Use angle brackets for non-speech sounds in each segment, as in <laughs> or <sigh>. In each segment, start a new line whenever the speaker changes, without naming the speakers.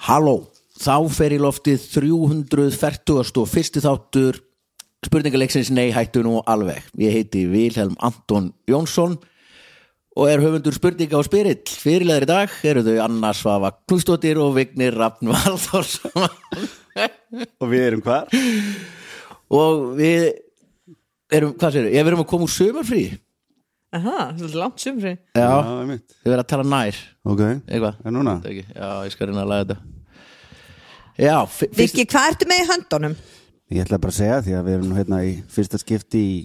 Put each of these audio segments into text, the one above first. Halló, þá fer í loftið 340. og fyrsti þáttur spurningaleiksins Nei hættu nú alveg. Ég heiti Vilhelm Anton Jónsson og er höfundur spurninga og spyrill. Fyrirleðar í dag eru þau Anna Svafa Knúsdóttir og Vignir Rafn Valþórsson. <laughs>
Og við erum hvar?
og við erum, hvað séu, við erum að koma úr sömarfrí.
Aha, svolítið langt sumri
Já,
Já, einmitt.
við erum að tala nær,
Ok,
eitthvað.
en núna?
Þetta ekki, já, ég skal reyna að laga þetta Já, fi- fyrst
Viki, hvað ertu með í höndunum?
Ég ætla bara að segja því að við erum nú hérna í fyrsta skipti í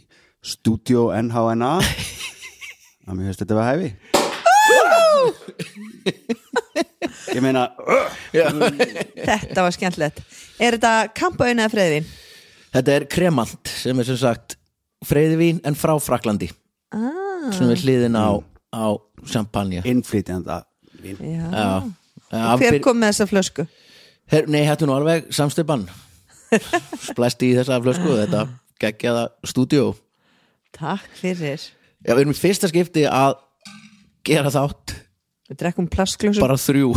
Studio
<laughs>
NHNA að mér finnst þetta var hæfi Ég meina
Þetta var skemmtilegt Er þetta kampaun eða freyðin?
Þetta er kremant sem er sem sagt freyðivín en frá Fraklandi
Ah,
sem er hliðin á, á champagne
innflytjanda Ég
já.
Já,
Og Hver
afbyr-
kom með þessa flösku?
Her, Nei, hættu nú alveg
<laughs>
samstipan Splæsti í þessa flösku þetta geggjaða stúdíó
Takk fyrir
Já, við erum í fyrsta skipti að gera þátt
Við drekkum plastklöngsum
bara þrjú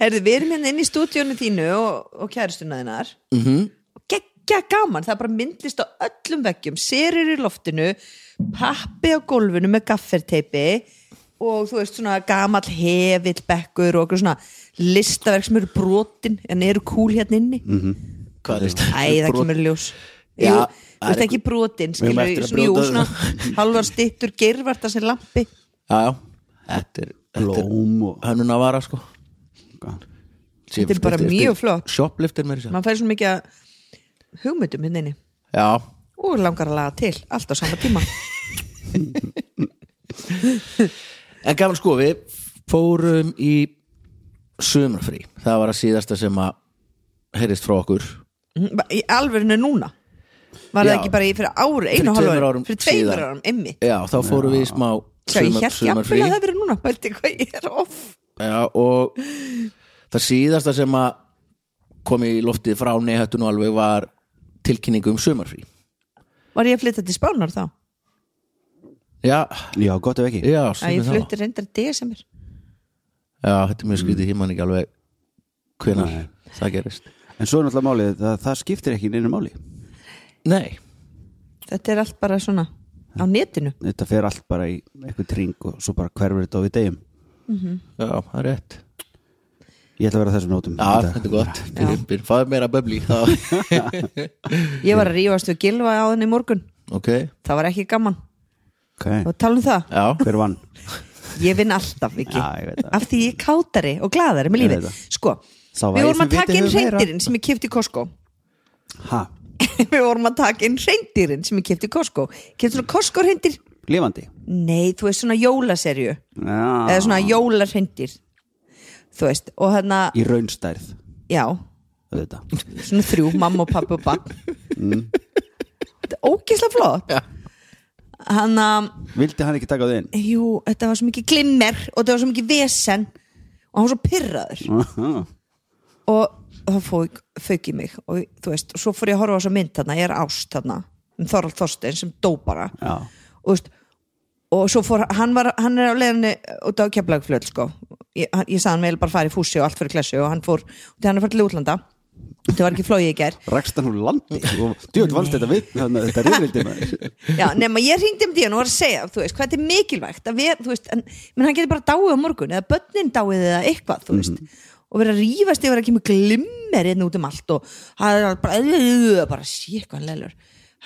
Herðu, við erum hérna inn í stúdíónu þínu og, og kæristuna þinnar mm
Mhm.
-hmm. og geggja gaman, það er bara myndlist á öllum veggjum, serur í loftinu pappi á gólfinu með gafferteipi og þú veist svona gamall hefill bekkur og okkur svona listaverk sem eru brotin en eru kúl hérna inni
Mhm.
mm -hmm.
Hvað veist?
Æ, það kemur í ljós
Já,
Jú,
það
þú veist
er-
ekki brotin
Við
skilur,
höfum eftir að
jú, svona, jú,
brjóta-
svona halvar stittur gervarta sem lampi
Já, já, þetta er þetta er
Blóm og-
hönnun að vara sko
Þetta er bara mjög flott.
Shoplifter mér sér
mann fær svona mikið að hugmyndum hérna inni
Já,
og langar að laga til, allt á sama tíma
En gaman sko, við fórum í sömurfrí. Það var að síðasta sem að heyrist frá okkur.
Mhm, ba- í alvörinu núna var það
Já.
ekki bara í fyrir ári, einu
Fyrir
og hálfu
tveimur
ári
árum
fyrir tveimur
síðan.
árum, emmi
Já, þá fórum við í smá
Sjá, ég
sumar-
held jafnvel að það verið núna Pældi hvað ég er off
Já, og það síðasta sem að kom í loftið frá neyhættu nú alveg var tilkynningu um sömurfrí.
Var ég að flytta til Spánar þá?
Já,
Já, gott ef ekki
já,
Að
sem
ég
við þá.
flytti reyndar desember
Já, þetta er mjög skrítið, ég man ekki alveg hvenar
Nei.
það gerist.
En svo er náttúrulega málið að það skiptir ekki neinu máli
Nei,
Þetta er allt bara svona á netinu
Þetta fer allt bara í eitthvað tring og svo bara hverfur þetta á við degjum
já, það er rétt.
Ég ætla að vera á þessum nótum
Já, þetta er gott. Byrjum, byrjum, fáðu meira böbli. þá-
Ég var að rífast við gilva á þenni í morgun
ok,
Það var ekki gaman
okay.
Og tala um það,
já.
Hver vann?
ég vinn alltaf ekki
Já, ég veit það.
Af því ég er kátari og gladari með
Ég
lífið
veit það.
Sko,
Sá
við
væri
vorum
sem
að taka
vitið
inn
hefur meira.
reyndirinn sem ég kipti í Costco <laughs>
Ha,
Við vorum að taka inn reyndirinn sem ég kipti í Costco Kipti svona Costco reyndir
lifandi
Nei, þú veist svona jólaserju
Já,
eða svona jólarhendir þú veist, og hérna
í raunstærð
já,
Þetta
svona þrjú, mamma og pappi og bann mm. ógislega flott
Já.
hann að,
Vildi hann ekki taka það inn?
jú, þetta var svo mikið glimmer og þetta var svo mikið vesen og hann var svo pyrraður og það fók, fauk í mig og þú veist, og svo fór ég að horfa á þessa mynd þarna, ég er ást þarna um Þorald Þorstein sem dó bara
Já,
og, þú veist, og svo fór hann, var, hann er á leiðinni út á keflagflöð sko. ég, hann- ég sagði hann vel bara fara í fússi og allt fyrir klessu og hann fór, og hann er farið til útlanda þetta var ekki flóið í ger
rakst hann úr landi og djöð vannst þetta við þannig að þetta rifrildi maður
já, nema ég ringdi um díðan og var að segja þú veist, hvað þetta er mikilvægt að við, þú veist, en, menn hann getur bara dáið á morgun eða börnin dáið eða eitthvað, þú veist og verið að rífast yfir að kemur glimmer einn út um allt og hann er bara, bara sé hvað hann leilur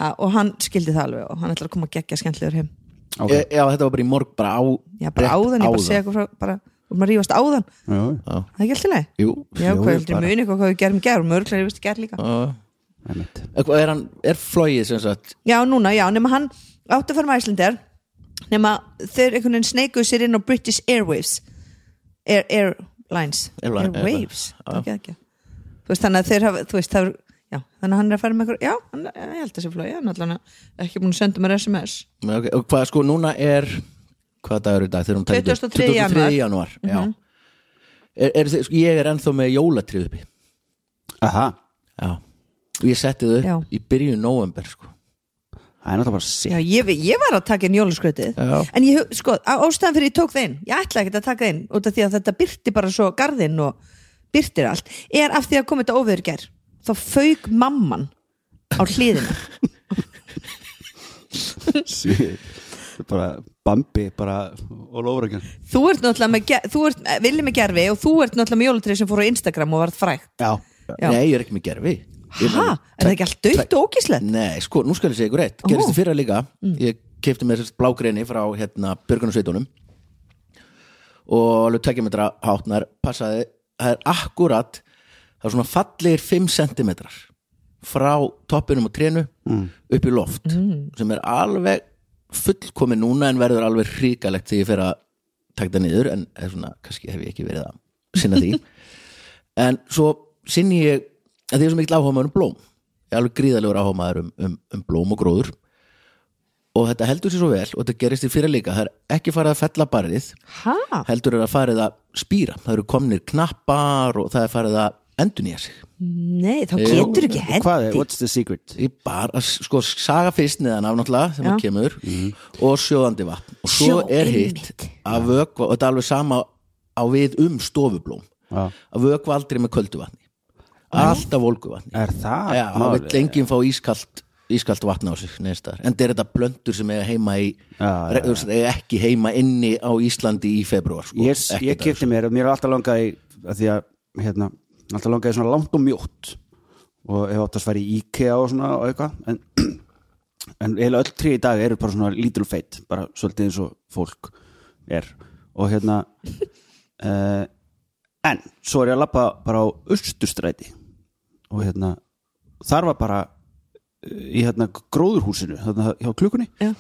ha, og hann skildi það alveg og hann ætlar að koma að gegja skemmtlegur heim
Ok.
e, Já, þetta var bara í morg bara á
Já, bara
rétt
áðan, ég bara segja eitthvað frá, bara, og maður rífast áðan,
Já,
Já,
það er ekki alltaf leið
Jú,
Já,
jú,
hvað heldur
bara.
muni eitthvað hvað við gerum í gær og mörglega rífast í gær líka
já.
einmitt.
Eitthvað, er, hann, er flóið sem sagt
Já, núna, já, nema hann átti að fara með Æslandar nema þeir einhvern veginn sneikuð sér inn á British Airwaves Air, Airlines
Airline-
Airwaves,
Airlines, já.
það er ekki Þú veist, þannig að þeir hafa, þú veist, það er Já, þannig að hann er að fara með eitthvað, já, hann, ég held að sé flói, ég er náttúrulega ekki búin að senda mér SMS.
Nei, okay. Og hvað sko, núna er Hvað dagur er í dag? Þegar um hún tæmdi upp?
23. janúar. Mhm.
janúar, Já er, er, þið- sko, Ég er ennþá með jólatrið uppi
Aha,
Já Og ég setti þau
Já.
upp í byrjun november sko.
Það er náttúrulega bara sitt
Já, ég, ég var að taka inn jólaskrautið
Já.
en ég, hug- sko, á- ástæðan fyrir ég tók það inn ég ætla ekkert að taka það inn út af því að þetta byrti bara svo garðinn og byrtir allt er af því að kom þetta óveður í gær þá fauk mamman á hliðina
Shit. Þetta er bara Bambi bara all over again
þú ert náttúrulega með, ge- þú ert, villi með gerfi og þú ert náttúrulega með jólatrið sem fór á Instagram og varð frægt
Já,
Já.
Nei, ég er ekki með gerfi Ég
ha,
meina-
er það ekki allt dögt og ógíslegt?
Nei, sko, nú skal ég segja ykkur eitt Gerist þið fyrra líka Ég kefti með þessast blágreini frá hérna Björgunarsveitunum Og alveg tekja metra hátnar Passaði, það er akkurat Það er svona fallegir 5 cm Frá toppinum og trénu Upp í loft Sem er alveg fullkomin núna En verður alveg hrikalegt þegar ég fer að Takta niður, en er svona, kannski hef ég ekki verið að sinna því en svo sinni ég að því er svo mikill áhugaður um blóm ég er alveg gríðalegur áhugaður um, um, um blóm og gróður og þetta heldur sér svo vel og þetta gerist í fyrir líka það er ekki farið að fella barrið
ha,
heldur er að farið að spýra það eru komnir knappar og það er farið að endunýja sig
nei, þá getur ekki
hvað er,
hendi
what's the secret?
ég bara, sko, saga fyrst neðan af náttúrulega sem
Já.
að kemur og sjóðandi vatn og svo
Sjó,
er
einmitt.
hitt að vökva, og þetta er alveg sama á við um stofublóm
Já.
að vökva aldrei með köldu vatni alltaf volgu vatni
Er það?
Já, það
málið?
vill enginn fá ískalt ískalt vatna á sig neðstar en er þetta blöndur sem eiga heima í
Já,
re- þú veist, eiga ekki heima inni á Íslandi í februar sko,
ég, ég
Ekkert af
kipti mér og mér er alltaf langað í að því að hérna, alltaf langað í svona langt og mjótt og hef átt að sværi í IKEA og svona og eitthvað en, <clears throat> en heila öll trí í dag eru bara svona little fate bara svolítið eins og fólk er og hérna <laughs> uh, en svo er ég að labba bara á austustræti og hérna þar var bara eh, í hérna gróðurhúsinu þarna hjá klukkunni
Já.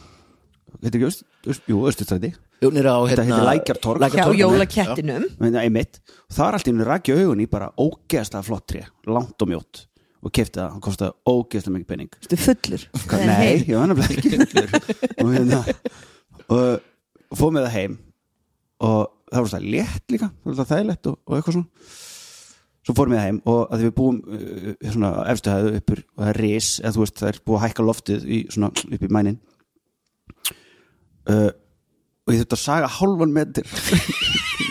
heitir ekki aust, aust, jú, austustræti
þessu. Jú, niður á, hérna,
heitir Lækjartorg.
hjá
Lækjartorg,
jólakettinum
Ég meina, einmitt, og það er allt í henni rakja augun í bara ógeðslega flott tré, langt og mjótt og kefti það, hann kostaði ógeðslega mikið penning
Þú fullur
Hvað, nei, ég var nefnilega ekki <laughs> fullur. og hérna og fóð með það heim og það var svolítið létt líka það var svolítið þægilegt og, og eitthvað svona svo fórum við það heim og að því við búum uh, svona efstu hæðu uppur og það er ris, eða þú veist það er búið að hækka loftið í, svona, upp í mænin uh, og ég þurfti að saga hálfan metur <laughs>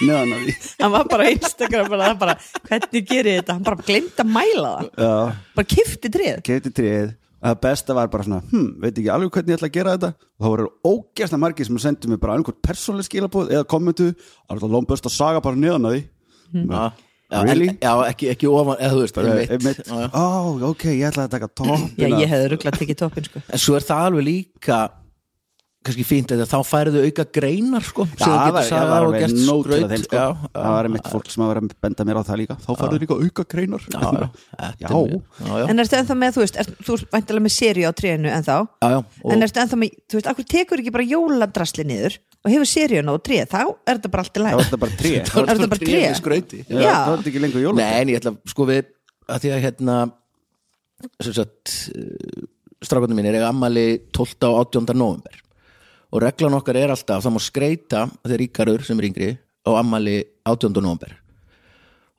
neðan af því
Hann var bara á Instagram bara, hann bara, hvernig gerir ég þetta? Hann bara glemt að mæla það
Já,
Bara kifti treð
kefti tríð að besta var bara svona, hm, veit ekki alveg hvernig ég ætla að gera þetta og þá voru ógeðslega margir sem sendu mér bara einhvern persónlega skilabóð eða kommentu, alltaf lón best að saga bara neðan að því
Já, já,
Really?
en- já, ekki, ekki ofan eða þú veist,
Bara,
einmitt.
Eh, einmitt.
Já, já.
ó, ok, ég
<clears throat>
ætla að taka
Já,
toppina
ég hefði rugglat ekki toppin sko
en svo er það alveg líka kannski fínt að þá færðu auka greinar sko, sem þú
það
getur
var, það
sagað
var
og
alveg
gert
nóg til að
skraut
þeim sko.
já,
það var einmitt fólk sem var að benda mér á það líka þá farðu líka auka greinar
já,
<laughs>
já,
já,
þetta er mjög- já, já,
En ertu ennþá með, þú veist, er, þú ert væntalega með seri á trénu ennþá
já, já, og-
En ertu ennþá með, þú veist, akkur tekur ekki bara jóladrasli niður og hefur seríuna á tréð, þá er þetta bara allt í
það var
læg
þetta bara tré
<laughs>
Það var- er þetta bara
tré
tré?
með skrauti
það
Já.
var þetta ekki lengur jóla
Nei, en ég ætla, sko við að því að hérna sem sagt strafgöndum mín er eiga ammali 12. og 18. november og reglan okkar er alltaf það má skreita, þegar ríkarur sem er yngri á ammali 18. november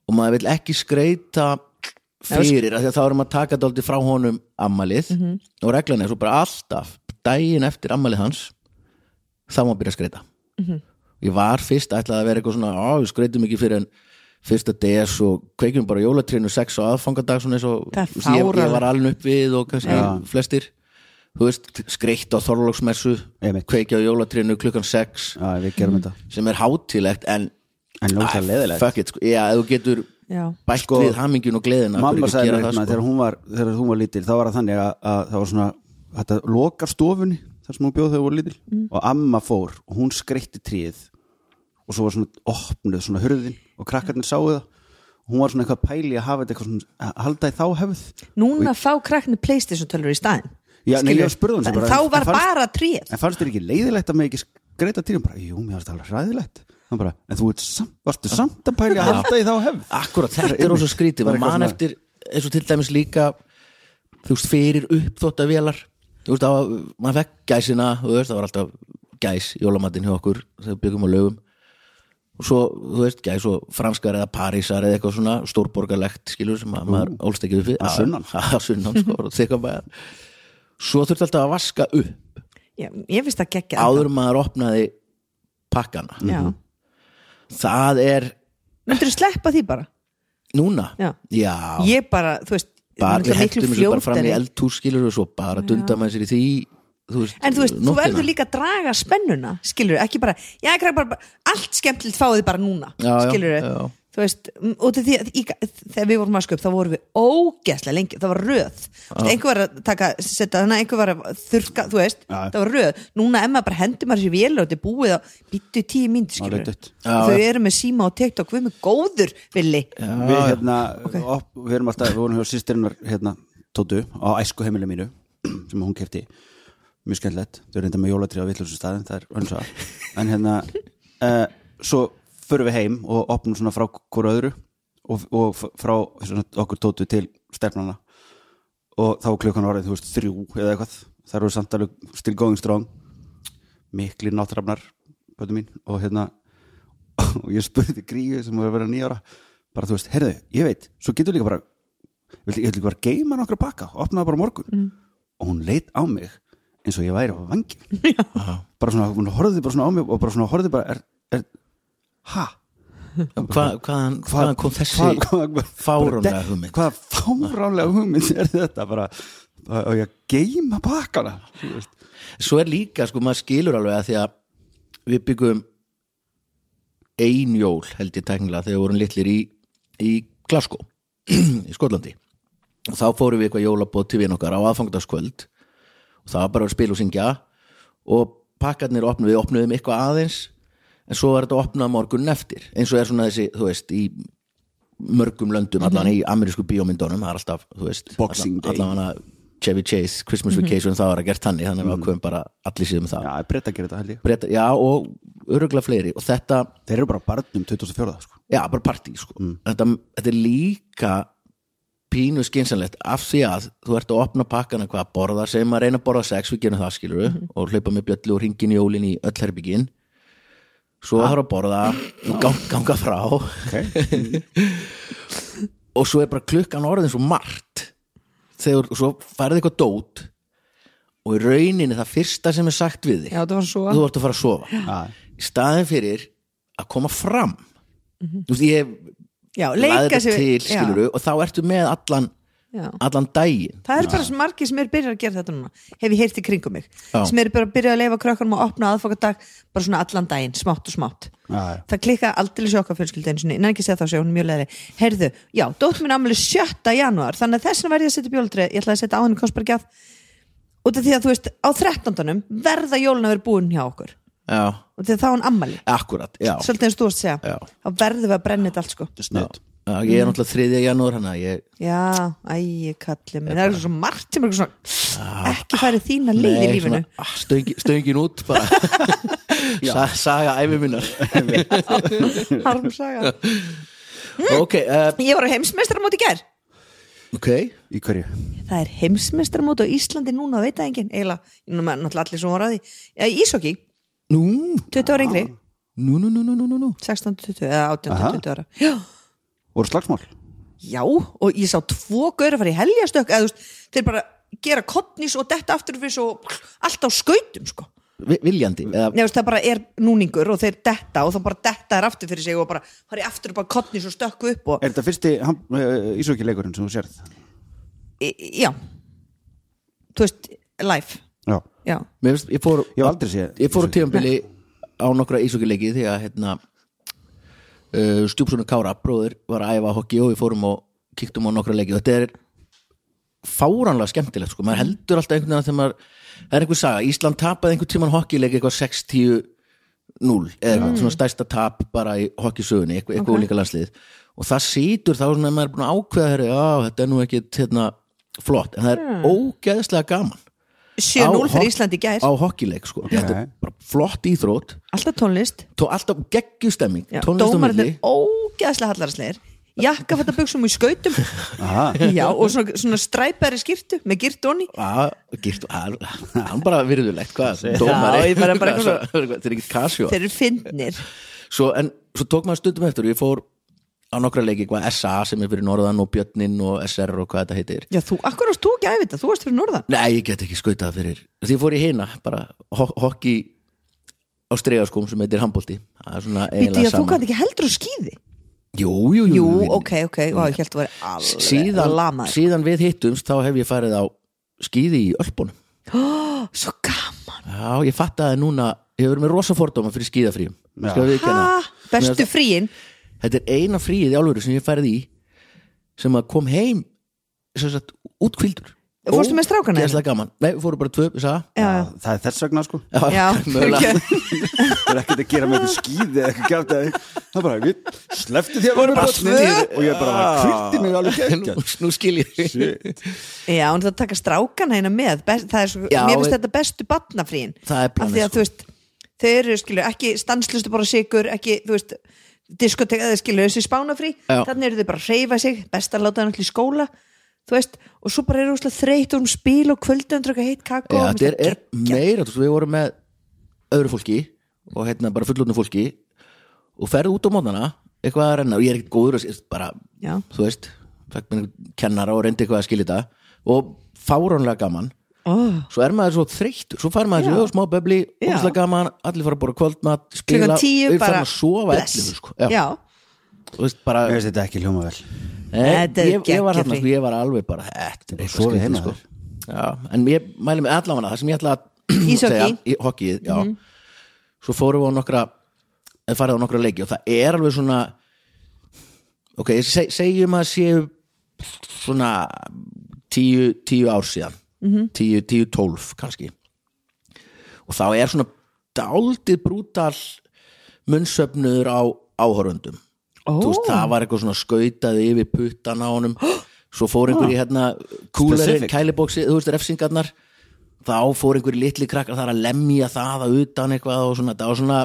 og maður vill ekki skreita
sko-
fyrir, af því að þá erum að taka dálítið frá honum ammalið
Mhm.
og reglan er svo bara alltaf daginn eftir ammalið hans þá má byrja að skreita
Mhm.
ég var fyrst ætlaði að vera eitthvað svona á, við skreitum ekki fyrir en fyrsta DS og kveikjum bara jólatrínu sex og aðfangadag svona eins og
Það er
þú veist, ég, ég
fáránlegt.
var alveg upp við og kannski flestir þú veist, skreitt á Þorlóksmessu
Einmitt.
kveikja á jólatrínu klukkan sex
já, við gerum þetta
sem er hátilegt en
En ljósa
Ah,
leðilegt
fuck it, sko. já, ef þú getur
Já,
bætt
Sko,
við hamingjun og gleðina af hverju
mamma
ekki
sagði
gera
mér
það,
hérna,
sko?
þegar hún var þegar hún var lítil, þá var það þannig að, að það var svona, þetta lokar stofunni þar sem hún bjóð þegar hún var lítil
Mm.
og amma fór og hún skreytti tríð og svo var svona opnuð svona hurðin og krakkarnir sáu það og hún var svona eitthvað pæli að hafa þetta eitthvað svona að halda í þá hefð
núna fá krakkni Playstation tölur í staðin
Já, nei, ég spurði hann sem um bara,
Þá var
en fannst-
bara tréð
en fannst þér ekki leiðilegt að mig ekki skreyta tríðum bara, jú, mér varst alveg ræðilegt hann bara, en þú ert samt, varstu samt að pæli að halda í þá hefð
Akkurat, þetta er ósa skrítið
Bara
maður
eitthvað
man
svona-
eftir, eins og til dæmis líka þú veist, fyrir uppþóttavélar þú veist, það var, maður fekk gæsina þú veist, það var alltaf gæs jólamatinn hjá okkur, þegar við byggum á lögum og svo, þú veist, gæs og franskar eða parísar eða eitthvað svona stórborgarlegt skilur sem <laughs> að maður ólst ekki upp við
að sunnan.
að sunnan, sko, og þykka bæjar svo þurfti alltaf að vaska upp
Já, ég finnst það geggja
áður en maður opnaði pakkana það er
myndur þú sleppa því bara
núna
Já.
já
ég bara, þú veist
bara, við
náttúrulega miklu
hættum þessu bara fram í
fljótari.
eldhús skilur og svo bara dunda maður sér í því þú veist,
en þú veist, þú
nóttina.
verður líka að draga spennuna skilur, ekki bara, já, ekki bara, bara allt skemmtilegt fáið þið bara núna
Já, já,
skilur,
já.
þú veist, m- út af því að í- þegar við vorum að sköp, þá vorum við ógeðslega lengi, það var röð Þú veist, einhver var að taka, setja hana, einhver var að þurrka, þú veist,
Já.
það var röð núna emma bara hendur maður sér vél og þetta er búið á býttu tíu mínútur skilur
Alveg dutt.
Já,
þau eru með síma og TikTok, við erum með góður villi,
við hérna op, við erum alltaf, við vorum hjá sýstirinnar hérna, Tótu, á æsku heimili mínu <clears throat> sem hún kefti mjög skemmtilegt, þau eru reynda með jólatrí á vitlusum staðin það er önsa en hérna, uh, svo förum við heim og opnum svona frá hverju öðru og, og f- frá svona, okkur Tótu til stefnana og þá var klukkan orðið, þú veist, þrjú eða eitthvað, það eru samt alveg still going strong mikli náttrafnar bötu mín og hérna og ég spurði gríu sem var að vera nýjára bara þú veist, herðu, ég veit, svo getur líka bara viltu- ég vil líka bara geima nokkra bakka og opnaða bara á morgun og hún leit á mig eins og ég væri á vangi bara svona, hún horfði bara svona á mig og bara svona horfði bara, er, er ha,
Hva, hvaðan, hvaðan kom þessi
hvað- hvað- hvað-
fáránlega
bara-
hugmynd Ah.
hvaða fáránlega hugmynd er þetta bara, bara og ég að geima bakkana þú veist.
svo er líka, sko, maður skilur alveg að því að við byggum ein jól held ég tæknilega þegar við vorum litlir í, í Glasgow í Skotlandi og þá fórum við eitthvað jólabóð til vinn okkar á aðfangtaskvöld og það var bara að spila og syngja og pakkarnir opnum við opnuðum eitthvað aðeins en svo var þetta opnað morgun eftir eins og er svona þessi, þú veist, í mörgum löndum allan í amerísku bíómyndunum það er alltaf, þú veist,
Mhm. Boxing Day.
allan hana Chevy Chase, Christmas Vacation það var að gera þannig, þannig að við ákveðum bara allir síðum það
já, breyta að gera þetta held ég
Breta, já, og öruglega fleiri og þetta,
þeir eru bara á barnum 2004 sko.
já, bara partí sko. þetta, þetta er líka pínu skynsanlegt af því að þú ert að opna pakkana hvað að borða segjum að reyna að borða sex, við gerum það skilur við og hlaupa með bjöllu og ringin í jólin í öll herbyggin svo þarf að borða og gang, ganga frá
okay.
<laughs> og svo er bara klukkan orðin svo margt þegar og svo færði eitthvað dót og í rauninni það fyrsta sem er sagt við þig
já, það var svo
þú ert að fara að sofa
Já.
í staðin fyrir að koma fram þú veist ég
já,
lagði
Mhm. leika
þetta
sér
til
já,
skiluru og þá ertu með allan,
já.
allan daginn
Það eru bara svo margir sem eru byrjað að gera þetta núna hef ég heyrt í kringum mig
Já.
sem eru bara að byrja að leifa krökkunum að opna aðfokadag bara svona allan daginn, smátt og smátt
Já, já.
Það klikka aldrei sjóka fjölskylda einu sinni, en ekki að segja þá sé hún er mjög leðri Herðu, já, dóttur minn ámæli 7. janúar þannig að þess vegna verði ég að setja bjóldreið ég ætlaði að setja á henni kostbargjað út af því að þú veist, á 13. verða jólun að vera búin hjá okkur
já,
og því að þá er hún ammæli,
akkurat, já,
svolítið eins og þú varst að
Já.
segja þá verðum við að brenna þetta allt sko
já.
snudd
Já, ég
Mhm.
er náttúrulega 3. janúar hann að ég
Já, æ, kalli minn Það er svo margt sem er eitthvað svona ekki farið þína leið í
Nei,
lífinu
svona, ah, stöngin, stöngin út
<laughs>
bara Sa, saga æfi minnar <laughs>
<laughs> Harmsaga
ok, uh,
Ég var á heimsmeistaramót í ger
ok
í hverju?
Það er heimsmeistaramót á Íslandi núna veit það enginn, eiginlega, nema náttúrulega allir sem voru að því Já, í Ísokki,
nú,
20 ára yngri
nú, nú, nú, nú, nú, nú, nú.
16-20 eða 18-20 ára Já,
voru slagsmál?
Já, og ég sá tvo gaur að fara í heljastökk eða þú veist, þeir bara gera kottnís og detta aftur fyrir svo allt á skautum sko
Vi- viljandi eða,
Nei, þú veist, það bara er núningur og þeir detta og þá bara detta er aftur fyrir sig og bara fari aftur og bara kottnis og stökku upp og
Er þetta fyrsti ísóki leikurinn sem þú sérð?
e, já þú veist, live
Já.
já,
mér finnst, ég fór
Ég hef aldrei séð
ég fór á tíðanbili á nokkra ísókileiki því að hérna, uh, stjúpsonu Kára bróður var að æfa hokki og við fórum og kíktum á nokkra leiki og þetta er fáránlega skemmtilegt sko. maður heldur alltaf einhvern veginn að þegar maður það er einhver saga, Ísland tapaði einhvern tíman hokkileik eitthvað 60 0 eða eitthvað svona stærsta tap bara í hokkisögunni, eitthvað, eitthvað okay. landslið og það situr þá svona að maður er búin að ákveða herri, já, þetta er nú ekkit hérna, flott, en það er ógeðslega gaman
7-0
hok-
fyrir Íslandi í gær
á hokkileik sko. þetta er bara flott íþrótt
alltaf tónlist,
tó, alltaf geggjustemming
já,
tónlist á milli
dómarinn er ógeðslega hallarsleir jakkafætta buksum í skautum
Aha.
já, og svona, svona stræpæri skirtu með girtu honni
Já, girt- hann hann bara virðulegt hvað,
Já,
dómari
ég bara-
<laughs>
bara
Hvað,
eitthvað
svo- þetta er ekkert kasjó
þeir eru fyndnir
svo, en svo tók maður stundum eftir og ég fór á á nokkra leiki hvað SA sem er fyrir norðan og Björnin og SR og hvað þetta heitir
Já, þú, akkur ást þú ekki að æfa þetta, þú varst fyrir norðan
Nei, ég get ekki skautað fyrir Því fór ég hina, bara ho hokki á stregaskum sem heitir handbólti Það er svona
Viti,
eiginlega
já, þú
sama
gæti ekki heldur á skýði
Jú, jú, jú,
Jú,
jú.
ok, ok, og ég held að vera alveg sko.
síðan,
lamaður.
síðan við hittumst þá hef ég farið á skýði í Ölpunum
Svo gaman
Já, ég fattaði núna Ég hefur verið með rosa fordóma fyrir skýðafríum
Já.
Skal við ekki
ha, Bestu fríin
Þetta er eina fríið í álveru sem ég færið í sem að kom heim sem sagt, útkvildur
Fórstu með strákana
Gæslega gaman, nei, við fórum bara tvö, ég sagði
Já, já.
það er þess vegna sko
Já,
<laughs> mögulega
ok.
það er ekkert að gera með eitthvað skýði eða eitthvað gæft að það er bara, við slefti því að vera
bara
barnið
tvö. Ah.
og ég bara var kvöldi mig alveg
nú,
geggjað
nú skil ég
Shit.
Já, en það taka strákana hérna með best, það er svo,
Já,
Mér finnst
við-
þetta bestu batnafríin
Það er planið,
Af því að
sko.
þú veist, þau eru skilur ekki stanslustu bara sigur, ekki, þú veist diskotek, eða skilur þessu spánafrí
Já.
þannig eru þau bara að hreyfa sig, best að láta þau náttúrulega í skóla, þú veist og svo bara eru úslega þreytt og um spil og kvöldun draka heitt kakó
Já,
og
þetta er, er
gegn-
meira, þú veist, við vorum með öðru fólki og hérna bara fullorðnu fólki og ferðu út á mótana eitthvað að renna og ég er ekkert góður að bara,
Já.
þú veist, fæk mér kennara og reyndi eitthvað að skilja þetta og fáránlega gaman
oh,
svo er maður svo þreyttur, svo fær maður
Já.
þessu smá bebli,
Já.
óslega gaman, allir fara að bora kvöldmat spila,
klukkan tíu
við
bara
að sofa
bless.
ellu, sko.
Já.
Þú veist, bara,
Mér finnst þetta ekki hljóma vel
Nei,
Þetta er
ég, ég var
geggjað
hérna,
frí.
sko, ég var alveg bara þetta er eitthvað
sofið
skrítið,
heima
sko. Já, en ég mæli mig allavega það sem ég ætla að <clears throat>
Íshokkí.
í hokkið, já
Mhm.
svo fórum við á nokkra eða farið á nokkra leiki og það er alveg svona ok, seg, segjum að séu svona tíu, tíu ár síðan tíu, tíu, tólf kannski og þá er svona dáldið brútal munnsöfnur á áhörundum
Ó.
þú veist, það var eitthvað svona skautað yfir puttana á honum svo fór einhver í hérna kúlarinn,
Specific.
kælibóksi, þú veist, refsingarnar þá fór einhver í litli krakkar þar að lemja það að utan eitthvað og svona, það var svona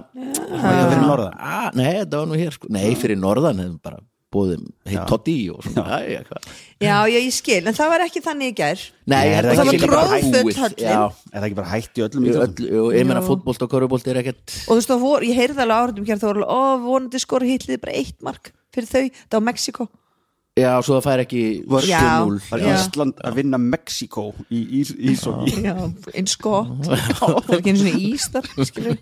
Það er fyrir norðan
að, nei, þetta var nú hér sko, nei, fyrir norðan hefum bara bóðum heitt totti í og svona, æ, eitthvað
Já, já, ég skil, en það var ekki þannig í gær
nei,
Nei,
ég held
það
að
var
sé líka bara
troðfull
búið.
höllin.
Já,
Er það ekki bara hætt í öllum
í
íþróttum?
öllu, og ég meina
Já.
fótbolt og korfbolt er ekkert
og þú veist, það vor, ég heyrði alveg áhverjum hér þá var alveg, ó, vonandi skor hitliði bara eitt mark fyrir þau, það var Mexiko
já, svo það fær ekki
Var-
Já.
7-0.
Var
Já.
Ísland að vinna Mexiko í Ísóki
já, eins
<laughs>
gott það var ekki einu svona ístar skilur.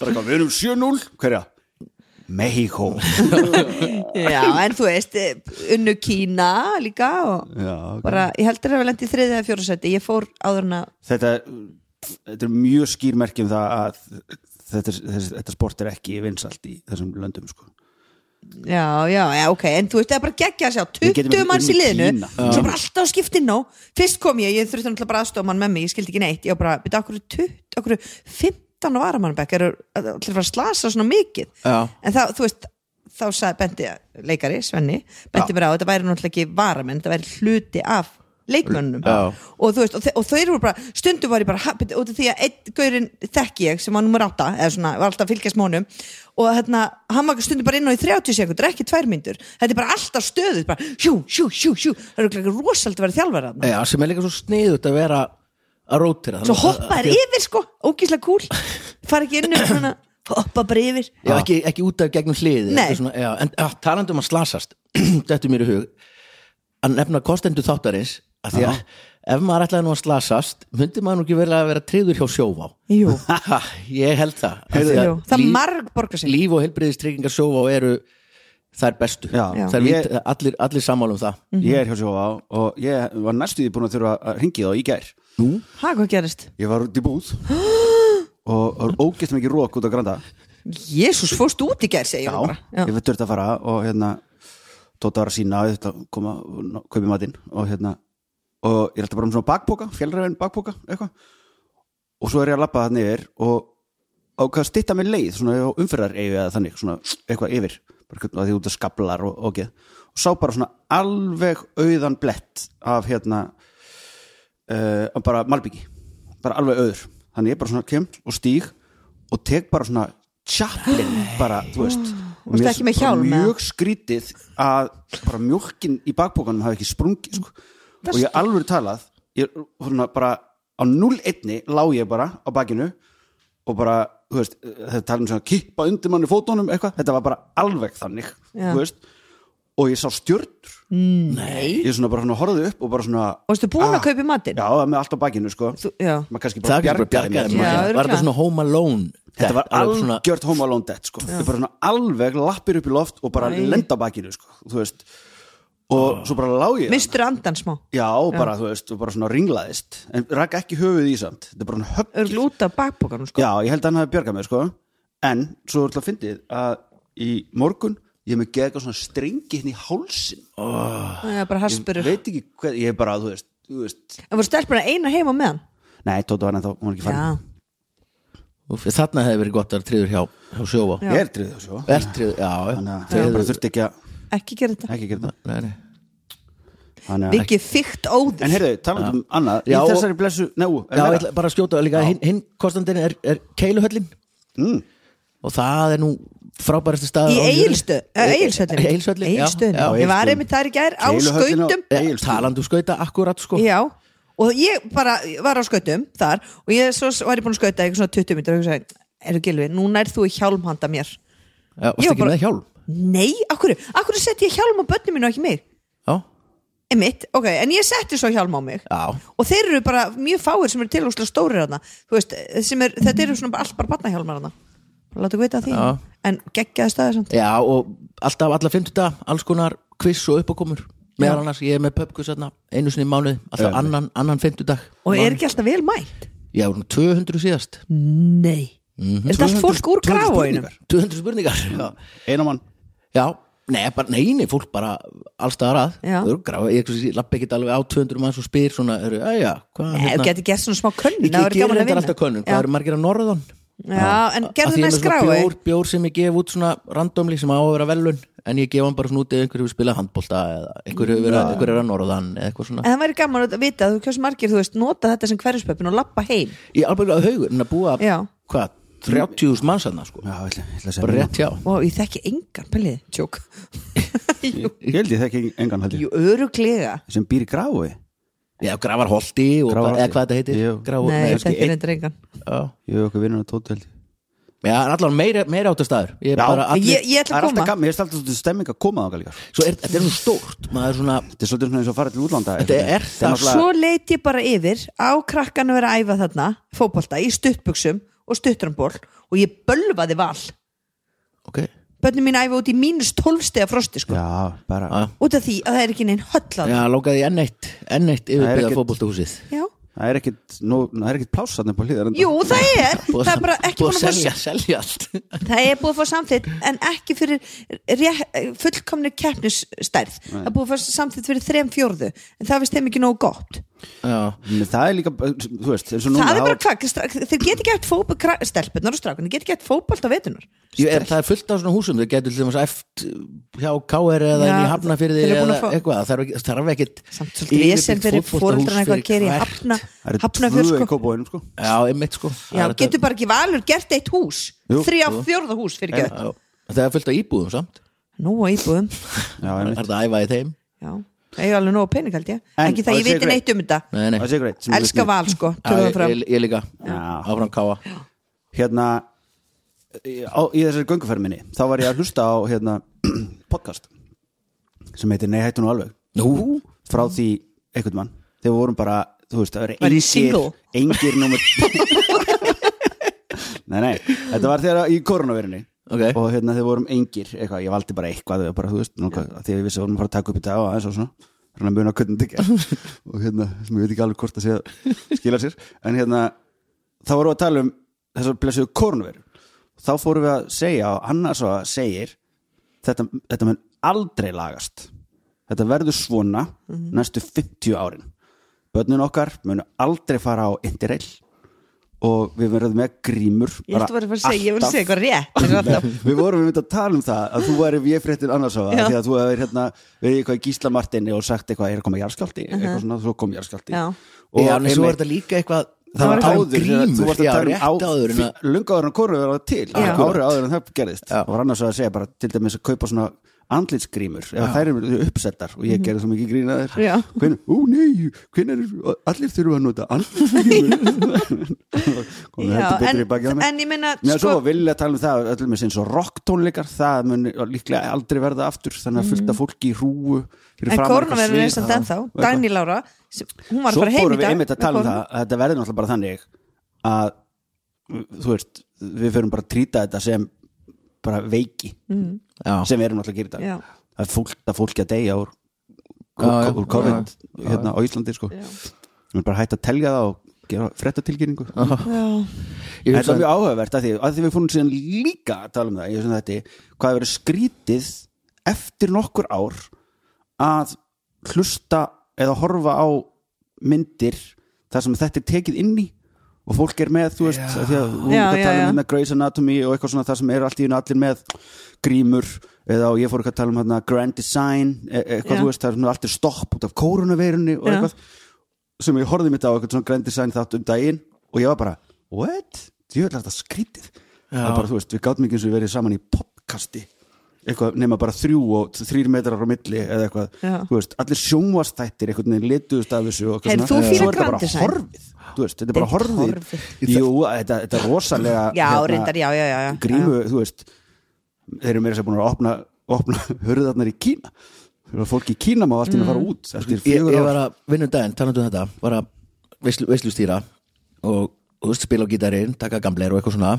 Bara hvað, við erum 7-0 Hverja? Mexiko
já, en þú veist eh, unnu Kína líka og
Já,
bara, ég heldur að við lendi í þriðið eða fjóra seti, ég fór áður en að
þetta, þetta er mjög skýrmerki um það að þetta, er- þessi- þetta sport er ekki vinsalt í þessum löndum sko.
já, já, já, ok, en þú veist, það er bara geggja að sjá
Við getum
20 manns í
unnið
liðinu
Kína.
svo bara alltaf á skiptinn á fyrst kom ég, ég þurfti náttúrulega bara aðstofa mann með mig ég skildi ekki neitt, ég var bara, byrja, okkur 20, okkur 15 á varamannbekk eru allir að fara að slasa svona mikið
Já.
en þá, þú veist, þá sagði bendi leikari, Svenni, bendi mér á að þetta væri náttúrulega ekki varamenn, þetta væri hluti af leikmönnum
Já.
og þú veist, og, þe og þeir voru bara, stundum var ég bara ha, bíddu, út af því að einn gaurinn þekki ég sem var nummer 8, eða svona, var alltaf að fylgjast mónum og hérna, hann var stundum bara inn á í 30 sekundur, ekki tvær myndur þetta er bara alltaf stöðuð, bara hjú, hjú, hjú, hjú það eru ekki rosald að vera þjálfar þarna
já, sem er líka svo sniðut að vera að rótira
svo
þannig að-
hoppa þær yfir sko, ógíslega kúl fara ekki inn um svona, hoppa bara yfir
Já, ekki, ekki út af gegnum hliði
Nei.
Þetta er svona, já, En já, talandi um að slasast <clears throat> Þetta er mér í hug Að nefna kostendu þáttarins að Því að ef maður ætlaði nú að slasast Myndi maður nú ekki verið að vera triður hjá sjóvá
Jú,
Haha, Ég held það Af því að
jú, það
líf-
marg borgar sig
Líf og heilbriðistryggingar sjóvá eru Þær bestu
Já. Já.
Þær
Ég-
vit, allir, allir sammála um það
Mhm.
Ég er hjá sjófa og ég var næstu því búin að þurfa að ringi þá í gær
Ha, hvað gerist?
Ég var út í
<gasps>
búð og var ógæst mikið rók út á granda
Jésús, fórst út í gerð, segi ég
Já,
bara Já.
ég var dörð að fara og hérna Tóta var að sína að þetta koma kaupi matinn og hérna og ég er alltaf bara um svona bakpoka, fjallræðin bakpoka eitthvað og svo er ég að labba það niður og ákvað að stytta mér leið svona umferðar eigu eða þannig svona eitthvað yfir, bara hvernig að því út að skablar og, og, og sá bara svona alveg auðan blett af hérna uh, bara malbyggi, bara alveg auður þannig ég bara svona kem og stíg og tek bara svona tjaplin bara, þú veist Og
Varstu
mér
ekki með
bara
hjálm, eða?
mjög skrítið að bara mjólkin í bakbókanum hafi ekki sprungið sko. og ég alveg talað ég, svona, bara á 0-1 lá ég bara á bakinu og bara þú veist, þetta tala um svona kippa undir manni fótunum eitthvað, þetta var bara alveg þannig
Já.
þú veist, og ég sá stjörnur
Nei
ég svona bara svona horfði upp og bara svona
Og ertu búin að kaupa í matinn?
Ah. já, það með allt á bakinu sko
Þú- já.
maður kannski
það
bara
er kannski bara
bjargaði
bjargaði
mér.
mér.
Já,
var
örugglega.
þetta svona home alone
þetta var
eða svona-
algjört home alone debt sko. þetta bara svona alveg lappir upp í loft og bara
Æ.
lenda á bakinu sko, þú veist og svo bara lág ég þarna.
Mistur andan smá
já, bara, þú veist, og bara svona ringlaðist en rakk ekki höfuð í samt þetta er bara svona högg
Örgl út af bakbókanum sko
Já, ég held að hann hafi bjargað mér sko En svo er alltaf fyndið að í morgun ég hef mig geða eitthvað svona strengi hérna í hálsin
Það er bara
Ég
haspurur
veit ekki hvað, ég er bara, þú veist, þú veist
En voru stelpuna eina heima með hann?
Nei, Tóta var ennþá, hún er ekki farin
Já
Úff, þarna hefði verið gott að triður hjá, hjá sjóa
Já.
Ég er drið þessu svo
Ertrið, já,
Þannig að
já
það bara þurfti ekki að,
Ekki gera þetta
ekki að gera það
Nei, nei.
Þannig að
Vikið þygt óður
En heyrðu, talandi um annað, í
Já, og-
þessari blessu, nei, ú, er
Já, ég
meira?
ætla bara að skjóta líka hinn, hinn kostandinn er, er keiluhöllin
Mm.
og það er nú frábæristi stað
Í Egilstöð Egilstöðin
Egilstöðlin, já, já,
Ég var einmitt þar í gær á
Keiluhöllin á-
skautum
Eh,
Egilsstöðum.
Talandu skauta akkurat sko
Já Og ég bara var á skautum þar Og ég svo var ég búin að skauta eitthvað svona 20 minnir Og ég sagði, eru gilvi, núna er þú í hjálm handa mér
Já, varstu
Ég var
ekki
bara-
með hjálm
Nei, akkur, akkur setti ég hjálm á börnum mínu og ekki mig
Já,
Einmitt, ok, en ég setti svo hjálm á mig
já,
og þeir eru bara mjög fáir sem eru tilhúslega stórir hana þú veist, sem er, þetta eru svona bara allt bara batnahjálmar hana bara láta ekki vita af því
Já.
en geggjaði staði samt
já og alltaf alla fimmtudag alls konar kviss og uppakomur meðal annars, ég er með pöpkus hérna einu sinni í mánuði, alltaf annan, annan fimmtudag
og er ekki alltaf vel mætt
Já, hún 200 síðast
nei,
Mhm.
er þetta allt fólk úr
200
gráinu
200 spurningar Já,
Einamann,
nei, bara, nei, nei, fólk bara allstaðar að
Já.
Þau eru grá- Ég lappi ekki alveg á 200 manns og spyr svona, eru, "Jæja, hvað
Eh, þú getur gert svona smá könnun
Hérna. Ég, ég
það væri
gerir
gaman að
þetta
vinna.
alltaf könnun,
já.
hvað eru margir að norðan
já, en
Af
gerðu
því ég er með
næst
svona
grái
bjór, bjór sem ég gef út svona randomli sem á að vera velun en ég gef hann bara svona út eða einhver hefur spilað handbolta eða einhver hefur verið einhver er að norðan eða eitthvað
en
svona
það væri gaman að vita að þú hversu margir þú veist nota þetta sem hverjuspöppin og lappa heim
Ég er alveg að haugur, en að búa
Já.
hvað, 30.000 manns hann sko
já, ég ætla, ég ætla að
bara
segja
rétt hjá
og ég þekki engan, pælið, tjók jú,
Ég held ég þekki engan haldi
jú, öruglega
sem býr í gráu
Já, grafar holti og hvað,
Grafarholti.
eða hvað þetta heitir
Jú.
Grafar,
nei,
kannski
þetta er
einn-
reyndar engan
Já,
Ég hef okkur vinnur að Tóta held ég
Já, en allan meira, meira áttastaður Ég er
Já.
bara allir
ég, ég
Það
ætla
er
að koma
alltaf gaman, ég veist alltaf stemming að koma þá líka
Svo er, þetta er svona stórt, maður er svona
Þetta er svolítið svona eins og að fara til útlanda
Þetta
einhvern veginn.
er það
náttúrulega-
svo leit ég bara yfir á krakkan að vera að æfa þarna fótbolta í stuttbuksum og stuttrumból og ég bölvaði val
Ok,
börnum mín æfa út í mínus 12 stega frosti
hérna.
sko.
Já, bara
Já.
út af því að það er ekki neinn höll að
já, lókaði enn eitt enn eitt yfirbyggða
ekkert-
fótboltahúsið
Já.
Það er ekkit, nú, það er ekkit pláss þarna upp á hlýðar
jú það er
<laughs> Búið
það er bara
að-
ekki
búið
búin
að
að fá
selja, selja
<laughs>
allt
það er búið að fá samþitt en ekki fyrir ré- fullkomni keppnisstærð það er búið að fá samþitt fyrir þrem fjórðu en það finnst þeim ekki nógu gott
Já,
Það er líka, þú veist, eins og núna
það er bara
þá-
hvað, stra- þeir get ekki hægt fótbolta stelpunar og strákunar, get ekki hægt fótbolta vetunar
Jú, er, það er fullt af svona húsum, þau getur til dæmis æft hjá KR eða
Já,
inn í Hafnafyrði
þeir eru búin
eða
að fá-
eitthvað, það þarf ekki- þarf ekkit
samt svolítið vesen fyrir fóreldrarna eitthvað að gera í hafna
Það eru
hafna
tvö í
sko.
kópóinum, sko
Já, einmitt sko
já,
Það er
getur bara ekki valur gert eitt hús
Jú,
þrjá fjórða hús fyrir
þetta-
göð
Já, Það er fullt af íbúðum samt
nú að íbúðum
Já,
Það er
einmitt.
þetta að æfa í þeim
já, það er alveg nóg pening held ég
En-
ekki það
og
ég
segir
veit neitt um þetta
Nei, nei,
Það sé greitt sem við
elska
vitum.
val sko,
Já,
tökum
ég,
það fram
ég, ég líka
Já.
Áfram KA
Hérna, í- á, í þessari gönguferð minni Þá var ég að hlusta á, hérna, <clears throat> podcast Sem heitir Nei hættu nú alveg
Nú,
Frá því, einhvern mann Þegar við vorum bara, þú veist, það eru
Var ég
engir
single?
Engir
<laughs>
númer Nei, nei, þetta var þegar í koronaverinni
ok
og hérna þeir vorum engir eitthvað, ég valdi bara eitthvað bara, þú veist, nokka, því að ég vissi að vorum að fara að taka upp í dag og aðeins og svona, hérna muna hvernig þetta
<laughs>
ekki og hérna, sem ég veit ekki alveg hvort að sé að skila sér, en hérna þá vorum við að tala um þessar blessuðu kornveru, þá fórum við að segja og annars og segir þetta, þetta mun aldrei lagast þetta verður svona
Mhm.
næstu 50 árin börnin okkar munu aldrei fara á interrail og við verðum með grímur
ég ætti bara að fara að segja, ég vil segja eitthvað rétt en alltaf-
við vorum við að tala um það að þú væri véfréttin annars á það
Já.
því að þú hefur hérna verið í eitthvað í Gísla Martinni og sagt eitthvað er að koma jarðskjálti eitthvað svona svo kom jarðskjálti
Mhm. Já.
og
Já, en svo
einmitt,
er þetta líka eitthvað
það var
talað um
áður þegar þú
grímur,
varst að
já,
tala
rétt
um á-
áður en að-
fí- löngu áður en korfið var til
Já.
árið áður en það gerðist
Já.
og var annars að segja bara til dæmis að kaupa svona andlitsgrímur ef þær eru uppsettar og ég gerði svo mikið grínaðir
Mhm. Já.
hvernig, ó nei, hvernig er, allir þurfa að nota
<laughs>
andlitsgrímur komið
Já,
heldur
en,
betri í bakið á mig
en ég meina
Nei,
sko,
svo vilja tala um það, öllum eins og rocktónleikar, það mun líklega aldrei verða aftur, þannig að fullta fólki í rúu fyrir
Mhm.
framan
en
eitthvað
koronavirun er
svið.
samt ennþá Dagný Lára, sem- hún var að
Svo
fara heim
fórum
í
við
dag
einmitt að
með
tala um
kór-
það, að þetta verði náttúrulega bara þannig að, þú veist, við förum bara að trýta þetta sem bara veiki,
já,
sem við erum náttúrulega að gera í
Mhm. Já.
dag. Það er fullta fólki að deyja úr,
Já, já.
úr COVID hérna á Íslandi, sko.
Já.
Við erum bara að hætta að telja það og gera frettatilkynningu.
Já,
ég
Þetta
hugsa
er mjög áhugavert að því, að því við fórum síðan líka að tala um það, ég sem þetta, hvað verið skrítið eftir nokkur ár að hlusta eða horfa á myndir þar sem þetta er tekið inn í og fólk er með, þú veist, já. því að hún
Já,
er að
já,
tala um
já.
hérna Grey's Anatomy og eitthvað svona þar sem eru allt í einu allir með grímur eða og ég fór eitthvað að tala um hérna Grand Design, e eitthvað
Já.
þú veist, það er svona allt er stopp út af koronaveirunni og
Já.
eitthvað sem ég horfði mitt á eitthvað svona grand design þátt um daginn og ég var bara, what? Ég vil þetta skrítið það er bara, þú veist, við gátum ekki eins og við verið saman í podcasti eitthvað, nema bara þrjú og þrýr metrar á milli eða eitthvað,
Já.
þú veist, allir sjónvastættir einhvern veginn lituðust af þessu og eitthvað
Heyrðu,
svona.
þú
Svo er
fílar
þetta
Grand
bara
Design?
horfið þú veist, þetta er bara
Þetta er
horfið
horfið.
jú, þetta, þetta er rosalega hérna,
já reyndar, já, já, já, já.
grímu, þú veist þeir eru meira sem búin að opna, opna hurðarnar í Kína Þegar fólk í Kína má allt í mm. fara út eftir
ég,
fjögur
ég
ár
var að vinna um daginn, talandi um þetta var að veislu, veislustýra og þú veist, spila á gítarinn, taka gamleir og eitthvað svona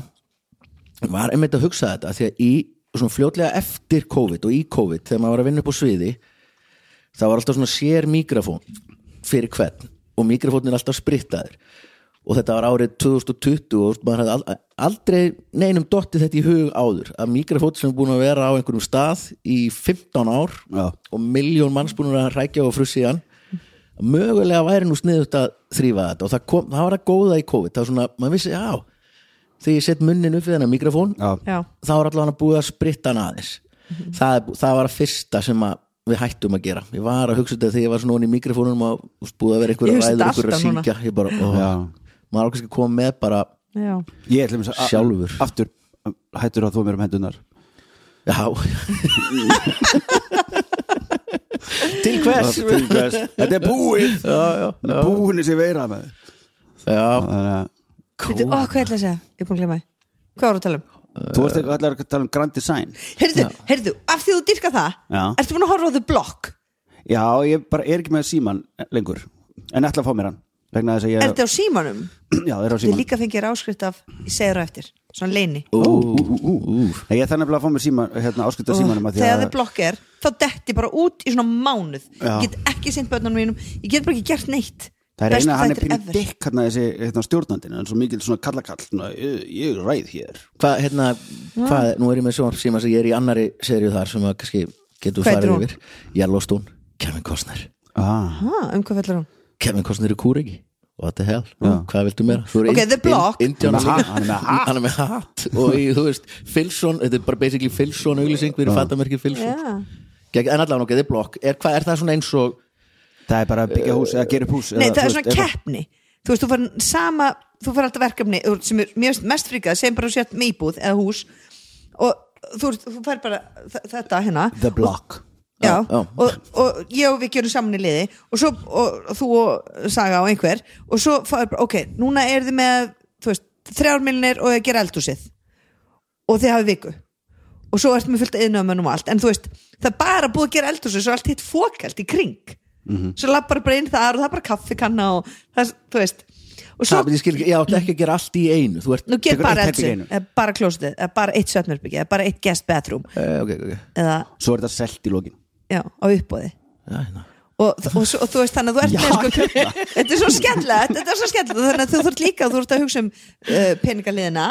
var einmitt að hugsa þetta því að í svona fljótlega eftir COVID og í COVID þegar maður var að vinna upp á sviði það var alltaf svona sér mikrofón fyrir hvern og mikrofónin er alltaf sprittaður og þetta var árið 2020 og maður hafði al- aldrei neinum dottið þetta í hug áður að mikrofón sem er búin að vera á einhverjum stað í 15 ár
Já.
og miljón manns búin að rækja og frussi hann mögulega væri nú sniðut að þrýfa þetta og það, kom, það var að góða í COVID það var svona, maður vissi, já þegar ég sett munnin upp við hennar mikrofón
Já.
Já.
þá var allavega búið að spritta hann aðeins það, er bú- það var að fyrsta sem að við hættum að gera ég var að hugsa um þetta þegar ég var svona ofan í mikrofónum og þú veist, búið að vera einhverja
Ég hugsa
ræður
þetta
einhverja að
alltaf núna.
syngja ég bara, ó, maður ákveðski að koma með bara
já.
Ég ætlum að
Sjálfur.
Aftur hættur að þú mér um hendunar
<laughs>
já til hvers
Til hvers. Þetta er búið
já, já,
Búinu sem veira með
já,
Þannig að
Veitu, ó, hvað ætla að segja? Ég er búin að glemma því Hvað voru að tala um?
Þú ert eitthvað allar að tala um Grand Design
Heyrðu, heyrðu, af því þú dyrka það
Já.
Ertu búin að horfa á The Block?
Já, ég bara er ekki með síman lengur En ætla að fá mér hann Vegna þess að ég
Ertu á símanum?
<clears throat> Já, það er á
Þið
síman
líka fengir áskrift af Ég segir það eftir, svona leini
Ó, ú, ú, ú, ú. Nei, Ég þannig að fá mér síman Hérna áskipta símanum af því
Þegar
að-
The Block er, þá detti ég bara út í svona mánuð
Já.
Ég get ekki sint börnunum mínum Ég get bara ekki gert neitt
Það er
Bestu
eina að hann er
þættir
pínu
ever.
dikk hérna þessi hérna, stjórnandinn, en svo mikil svona kallakall svona, ég, ég ræð hér
hvað, hérna, hvað, nú er ég með sjónvarp síma sem ég er í annari serju þar sem að kannski getur
Hvað heitir
farið
hún?
yfir Yellowstone, Kevin Costner
ah.
Ha, um hvað fellur hún?
Kevin Costner er kúregi what the hell, hvað viltu meira Þú eru
Ok,
ind-
The Block.
ind- Indiana
Hann er með
líka.
ha- hann er með hat.
hann er með hatt og í, þú veist, Filson, þetta er bara basically Filson auglýsing fyrir fandamerki Filson
Já.
Gegn- en allavega, ok, The Block, er, hvað, er það svona eins og
Það er bara að byggja hús eða gera upp hús
Nei,
eða,
það
þú
er
veist,
svona
eitthvað.
keppni Þú veist, þú fær sama Þú fær alltaf verkefni úr- sem er mjög mest fríkað sem bara sért með íbúð eða hús og þú, veist, þú fær bara þ- þetta hérna
The Block
Já,
já.
Og, og ég og við gerum saman í liði og svo, og, og þú og Saga og einhver og svo, fær bara, ok, núna er þið með þú veist, þrjármilnir og þið að gera eldhúsið og þið hafið viku og svo ertu með fullt yðnöðmönnum og allt en þú veist, það er bara búið að gera eldhúsið svo allt hitt fókalt í kring
Mhm.
svo lappar bara inn þar og það er bara kaffikanna og það, þú veist og svo,
það, menn ég skil ekki, ég átti ekki að gera allt í einu þú ert,
nú ger
tekur
bara
eitt herbergi í
eldhúsið
einu.
eða bara klósið, eða bara eitt svefnherbyggi eða bara eitt guest bathroom
eh, ok, ok, ok
eða,
Svo er þetta selt í lokin
já, á uppbóði
Já, hérna.
og, og, svo- og þú veist þannig að þú ert með sko, þetta er svo skemmtilegt þetta er svo skemmtilegt þannig að þú þurft líka þú ert að hugsa um uh, peningaliðina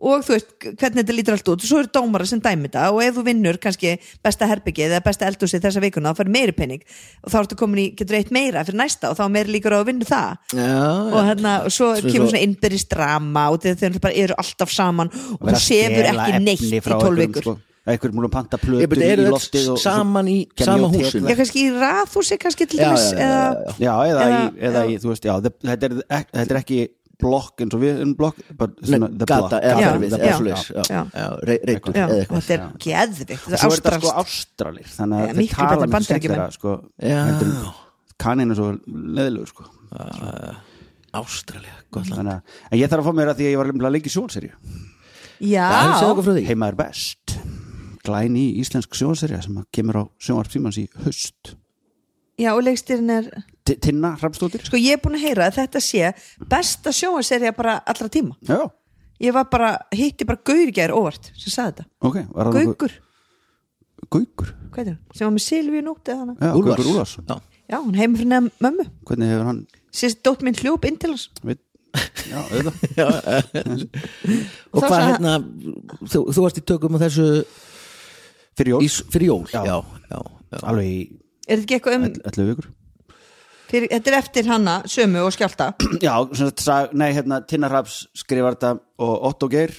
og þú veist hvernig þetta lítur allt út og svo eru dómara sem dæmi þetta og ef þú vinnur kannski besta herbyggið eða besta eldhúsið þessa vikuna þá fyrir meiri pening og þá ertu komin í getur eitt meira fyrir næsta og þá er meiri líkur á að vinna það
Já,
og hérna og svo
Svo-
kemur
svo-
svona innbyrðis drama og þeir þeir bara eru alltaf saman og
Verða
þú
að
sefur
stela
ekki
efni
neitt í
frá
tólf
einhverjum,
vikur
sko. Einhverjum múlum panta
Ég
plötur
byrja, eru
í
öll
loftið og-
saman í-
Kenny
sama
og Ted-
húsinu?
Já, kannski í raðhúsi kannski til
Já,
dæmis
já, já,
eða
já,
Já, eða,
Eða-
í, eða í, þú veist, já, þe- þetta er, ek- þetta er ekki blokk eins og við erum blokk but
Nei,
svona the block.
gata eða
Já,
hverfið
já,
eða svoleiðis,
já,
já,
já.
já, rey- reitur
Já,
eða eitthvað
þetta er geðvikt
og
þetta
svo er þetta
ástralst
sko ástralir þannig
Já,
að þeir
miklu
tala
betri
mjög
Bandaríkjamenn.
skemmtilega sko,
Já.
heldur en kaninn er svo leðilegur sko.
Ástralja, gott land
þannig að en ég þarf að fá mér að því að ég var lemla að leika í sjónserju
Það segðu okkur
já,
frá því
heima er best glæni í íslensk sjónserja sem að kemur á sjónvarpsímans í haust
já, og leikstýrin er
T- Tinna Hrafnstóttir
sko ég er búin að heyra að þetta sé besta sjónvarserja bara allra tíma
já,
ég var bara, hitti bara Gaur í gær óvart sem sagði þetta,
ok, var það
Gaugur
nokkuð- Gaukur
hvað er það, sem var með Silvíu nótt eða hana
Já,
Úlfars.
Gaukur Úlfars,
Já.
já, hún heimur fyrir neðan mömmu
hvernig hefur hann
sérst dótt minn hljóp inn til hans
við... já, auðvitað
Og
Þá
hvað
sagði-
hérna, þú, þú varst í tökum á þessu
fyrir jól,
í, fyrir jól
Já.
já, já, já.
alveg í
er þetta ekki eitthvað um,
ell- 11 vikur
fyrir, þetta er eftir hanna sömu og skjálta
<clears throat> já, sem sagt, sag, nei, hérna Tinna Hrafs skrifar þetta og Otto Geir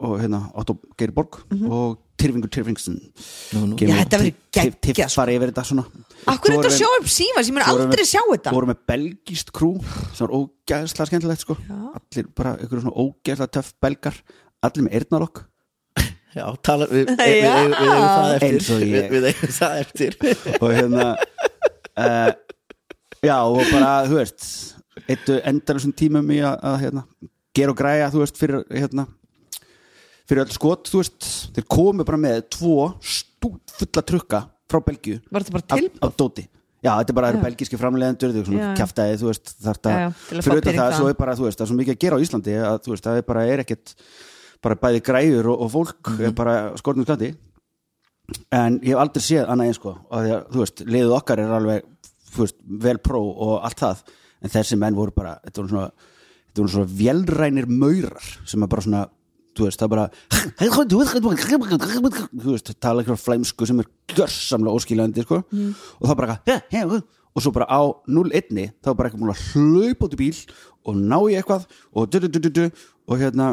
og hérna Otto Geir Borg og Tyrfingur Tyrfingsen
Já, þetta verður geggjað,
Tiff
sko.
fari yfir þetta svona
akkur
Svo
er þetta
erum
að
við-
sjá upp síma sem ég mun
svo erum
aldrei
við-
sjá þetta
Þú vorum með belgist krú sem var ógæðslega skemmtilegt sko allir bara ykkur svona ógæðslega töff belgar allir með eyrnalokk
já tala,
<laughs>
við, við,
Já.
við, við eigum það
Eins og
eftir
ég.
við, við eigum það eftir
og hérna uh, já og bara þú veist eittu endalusum tímum í að, að hérna, gera og græja þú veist fyrir hérna fyrir öll skot, þú veist, þeir komu bara með tvo stút fulla trukka frá Belgíu
Var þetta bara
af-
tilboð?
af dóti Já, þetta er bara eru
Já.
belgíski framleiðendur þau svona
Já, já.
kjaftaði, þú veist, þarft
Já,
að
já, til að fá
fyrir utan
pening
það,
þaðan.
svo er bara, þú veist, það er svo mikið að gera á Íslandi að, þú veist, það er bara, er ekkit bara bæði græjur og, og fólk
Mhm.
er bara skornum slandi en ég hef aldrei séð annað eins sko og því að, þú veist, liðið okkar er alveg þú veist, vel pró og allt það en þessi menn voru bara, þetta voru svona þetta voru svona vélrænir maurar sem er bara svona, þú veist, það er bara þú veist, tala ykkur flæmsku sem er gjörsamlega óskiljandi sko
Mm.
og það bara, he, he, he, og svo bara á 0-1 þá er bara eitthvað múl að hlaupa út í bíl og ná í eitthvað og du, du, du, du, du, og hérna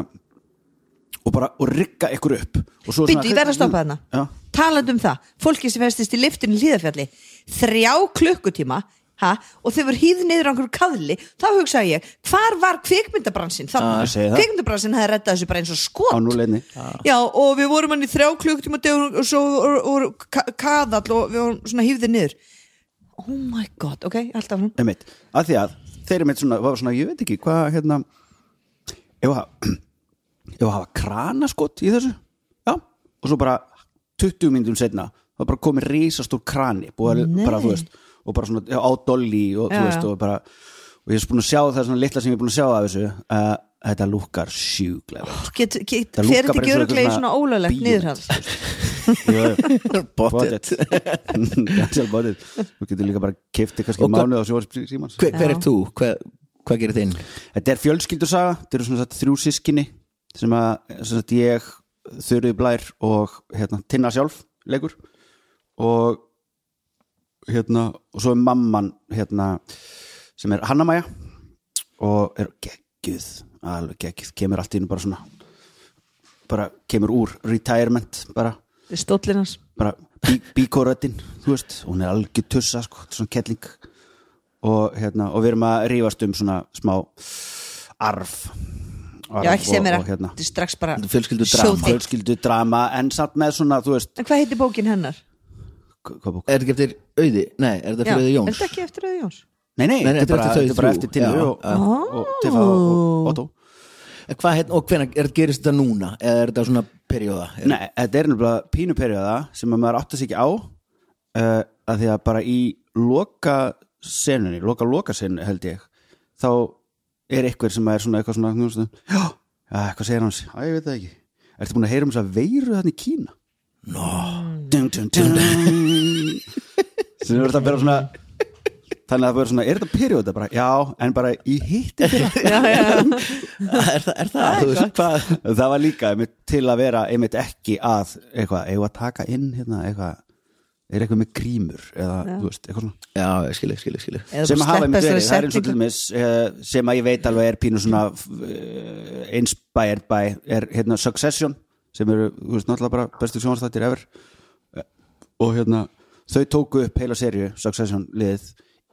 og bara, og rigga ykkur upp og svo
Býttu, ég verð að stoppa þarna
Sko, Já.
Talandi um það, fólki sem festist í liftinu í hlýðafjalli Þrjá klukkutíma ha, Og þau voru hýð niður á einhverju kaðli Þá hugsaði ég, hvar var kvikmyndabransin
Ah,
þarna?
ég segi það.
kvikmyndabransin hefði reddað þessu bara eins og skot
á 0-1
Já, og við vorum hann í þrjá klukkutíma á dögun Og svo voru- voru ka- kaðall Og við vorum svona hýðið niður Oh my god, ok, alltaf hún
einmitt, af því að þeir eru mitt svona, var svona, ég veit ekki hvað hérna ef að, <clears throat> ef að hafa kranaskot í þessu já, og svo bara 20 mínútum setna, það er bara komið risastór krani, búið að,
Nei.
bara þú veist og bara svona já, á dolli og
Já,
þú veist
já.
og bara, og ég er búin að sjá það er svona litla sem ég er búin að sjá af þessu uh, þetta lúkar sjúklega
<laughs>
vel.
Get, get,
Það
Fer
lúkkar
þetta
bara eins
ekki
og
öruglega í
svona
svona ólöglegt
bíómynd.
niðurhald
Jú, jú.
Bottet.
Cancel botted <laughs> þú getur líka bara kefti kannski
Og hvað-
mánuð á sjóðarsímans
hver, hver
Já.
er þú, hver, hvað gerir þinn
Þetta er fjölskyldusaga, þetta eru svona sagt þrjú sískinni sem að sem sagt, ég, Þurrið Blær og hérna, Tinna sjálf leikur og hérna, og svo er mamman hérna, sem er Hanna-Maja og er geggjuð alveg geggjuð, kemur allt í hennu bara svona bara kemur úr retirement bara,
Stóllinans
bara bí, bíkóröttin, þú veist hún er algjör tussa, sko, svona kettling og hérna, og við erum að rífast um svona smá arf, arf
Já, ekki sem
og,
meira,
og hérna
þetta er strax bara
Þetta er fjölskyldudrama.
so thick.
fjölskyldu drama en samt með svona, þú veist
En hvað heitir bókin hennar?
k- hvað bók?
er þetta ekki eftir auði, nei, er þetta fyrir auði
er
Jóns
þetta ekki eftir Auði Jóns?
Nei, nei,
Nei, nei,
þetta er
þetta er
bara,
eftir þau
þetta er bara
þrjú,
eftir Tinnu
já.
og, og, og Tifa og Otto
En hvað, hérna, og hvenær, er, gerist þetta núna eða er þetta svona perjóða er,
Nei, þetta er nefnilega pínuperiða sem að maður átti sig ekki á uh, að því að bara í loka senunni, loka loka senu held ég, þá er eitthvað sem er svona eitthvað svona, þú veist, já, ja, hvað segir hans? Æ, ég veit það ekki. Ertu búin að heyra um þess að veiru þarna í Kína? Nó. Dun, dun, dun. sem er þetta að vera svona þannig að það verður svona, er þetta perjóta bara? Já, en bara í hitti fyrir
er, það- er það, þú veist, hvað
það var líka einmitt, til að vera einmitt ekki að eitthvað, eigum við að taka inn hérna, eitthvað, er eitthvað með grímur eða, þú veist, eitthvað svona
já, skilja, skilja, skilja
Eða
sem að
bara
hafa
sleppa
einmitt
þessari
verið, það er eins og til
setningu.
dæmis eh, sem að ég veit alveg er pínu svona eh, inspired by er hérna Succession sem eru, þú veist, náttúrulega bara bestu sjónastættir ever Eh, og hérna þau tóku upp heila serju, Succession liðið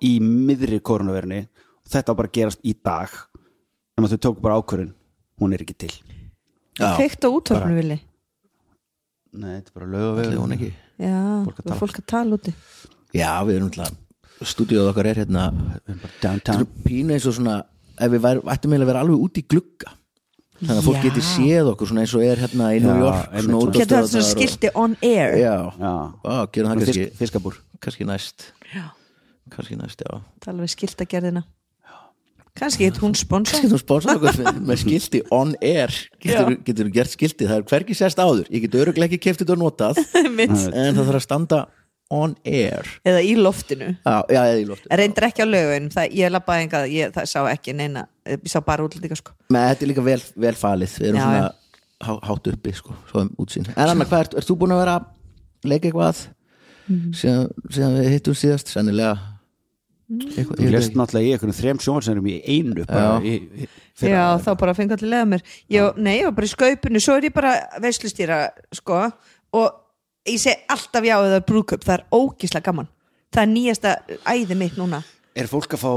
í miðri koronaverni þetta á bara að gerast í dag nema þau tóku bara ákvörðin hún er ekki til
Já.
kveikt á útvarpinu vilji
Nei, þetta er bara lögaveg
Ætli hún ekki?
já,
Fólk að
og
tala.
fólk að tala úti
Já, við erum alltaf Stúdíóð okkar er hérna Þetta
Downtown
eru pínu eins og svona Ef við værum- ættum eiginlega að vera alveg út í glugga Þannig að fólk
Já.
geti séð okkur svona eins og er hérna í New
Já,
York svona
einmitt svona.
út á
getur það svona
stöðvarnar og-
skilti on air
Já,
Já.
Á, gerum það kannski,
Fisk, Fiskabúr
kannski næst
Já.
Kannski næst, já
tala við skiltagerðina kannski get hún sponsor
Getum sponsor okkur með, með skilti on air Getur, getur gert skilti, það er hvergi sérst áður Ég get öruglega ekki keft þetta og notað
<laughs> Einmitt.
En það þarf að standa on air
eða í loftinu
Já, já, eða í loftu
reyndar ekki á lögum, það, ég labbaði enga ég það sá ekki neina, ég sá bara útlendinga sko.
Nei, þetta er líka vel, vel falið Við erum
Já,
svona
já.
há, hátt uppi sko, Svo um útsýn En Anna, hvað ert, ert þú búin að vera að leika eitthvað
Mm.
síðan, síðan við hittum síðast Sennilega
Mm.
eitthvað,
Þú
ég veit
lest
ekki.
náttúrulega í einhvern þrem sjónsenum í einu bara í, í, fyrra.
já, þá bara fengi allir leiða mér ég, nei, ég var bara í skaupinu, svo er ég bara veislustýra, sko og ég segi alltaf já eða brúðköp það er ógislega gaman, það er nýjasta æði mitt núna,
Er fólk að fá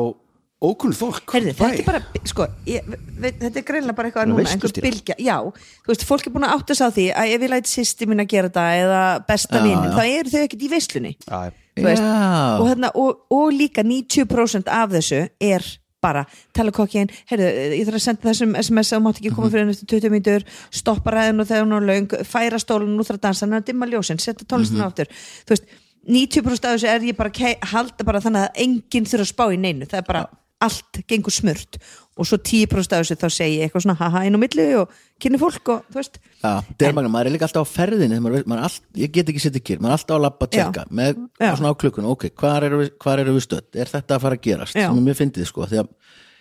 ókunn fólk?
heyrðu,
Bæ.
þetta er bara sko, ég, veit, þetta er greinlega bara eitthvað
Bara
núna, einhver
veislustýra.
bylgja, já þú veist, fólk er búin að átta sig á því að ef ég læt sýsti mín að gera þetta eða besta
Já,
vinnum,
já.
þá eru þau ekkert í veislunni
Já,
þú veist,
Já.
og, þarna, og, og líka 90% af þessu er bara telekokkin, heyrðu, ég þarf að senda þessum sms að þú mátt ekki koma fyrir næstu 20 mínútur stoppa ræðinu þegar hún er löng færa stólun út frá dansan, að dimma ljósin setja tónlistina aftur, þú veist 90% af þessu er ég bara að ke- halda bara þannig að enginn þurfa að spá í neinu það er bara, allt gengur smurt og svo 10% af þessu þá segi ég eitthvað svona haha inn á milli og kynni fólk og þú veist,
Já, það er magna, maður er líka alltaf á ferðinni þegar maður, veit- maður er all, ég get ekki setið kýr, maður er alltaf að labba að
Já.
tjekka með,
Já.
svona á klukkun, ok, hvar eru, við, hvar eru við stödd er þetta að fara að gerast,
Já.
sem er mjög fyndið sko, því að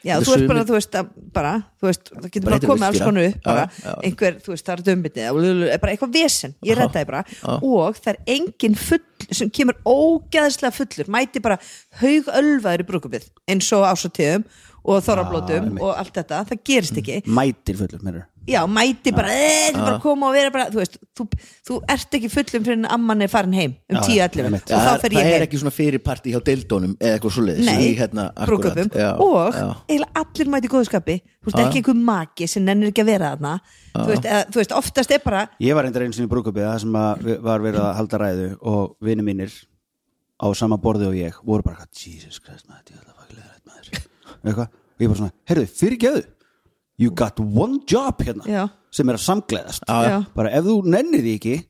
Já,
þetta
þú veist
sumir-
bara, þú veist, að, bara, þú veist, það getur
Bara
bara
heitir
komið alls
vistýra.
konu upp bara,
Já, já.
einhver, þú veist, það er dömbitni eða lulu- eða bara eitthvað vesen, ég redda því bara og það er engin full sem kemur ógeðslega fullur, mæti bara haugölvaður í brúkupið eins og ásatíðum og
Ah,
þorrablótum og allt þetta, það gerist ekki
Mm,
mætir fullur, mennur
Já, mæti bara, eh, þú bara koma og vera bara, þú veist, þú, þú ert ekki fullum fyrir en amman er farin heim um tíu ellum og
einmitt.
Já,
þá
það,
fer
það
ég
er
heim
ekki svona fyrirparti hjá deildónum eða eitthvað svo leiðis
Nei,
hérna, akkurat.
brúköpum
Já,
og
já.
eiginlega allir mæti góðskapi þú veist ekki einhver maki sem nennir ekki að vera þarna þú veist, eða, þú veist, oftast er bara
Ég var reyndar einu sinni í brúkupið það sem að vi- var verið að halda ræðu og vini mínir á sama borði og ég voru bara hvað, Jesus Christ maður, ég ætla að faglega rætt maður eitthvað, og ég bara svona, heyrðu, fyrirgeðu you got one job hérna
Já.
sem er að samgleðast
já. Já.
bara ef þú nennir því ekki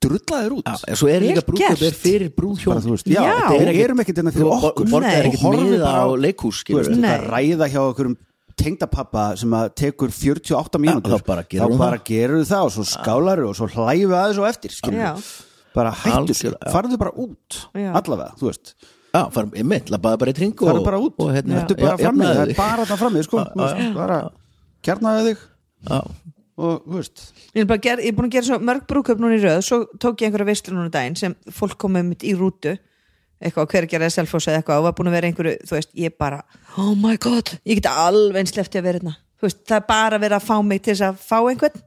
drulla þér út
Já, en svo er
Vel
líka brúðköp er
gert.
fyrir brúðhjón
bara, þú veist, já,
Já.
þetta er ekkit, erum ekkit enn fyrir okkur
borgar
Nei.
er ekkert
Horfið
miða á
bara á-
leikhús
Þú veist,
skilurðu.
Nei.
þetta ræða hjá okkurum tengdapappa sem að tekur 48 mínútur
þá bara gerum
þá
við
bara
það.
gerum við það og svo skálaru og svo hlæfum við aðeins og eftir skilurðu.
Já.
bara hættu
Algjörlega,
sér,
já.
farðu bara út
Já.
allavega, þú veist,
já, farum ymmið, labbaði bara í tring og,
farðu bara út
og hérna,
hættu bara
já,
fram með,
jafnaðu
það er
þig.
bara þarna fram með sko, þú veist, bara kjarnaðu þig
Já.
og, þú veist,
ég er, bara ger, ég er búin að gera svo mörg brúköp núna í röð svo tók ég einhverja veislu núna um daginn sem fólk komið mitt í rútu eitthvað, hver gerði að selfósa eða eitthvað og var búin að vera einhverju, þú veist, ég bara oh my god, ég get alveg eins sleppti að vera hérna þú veist, það er bara verið að fá mig til þess að fá einhvern,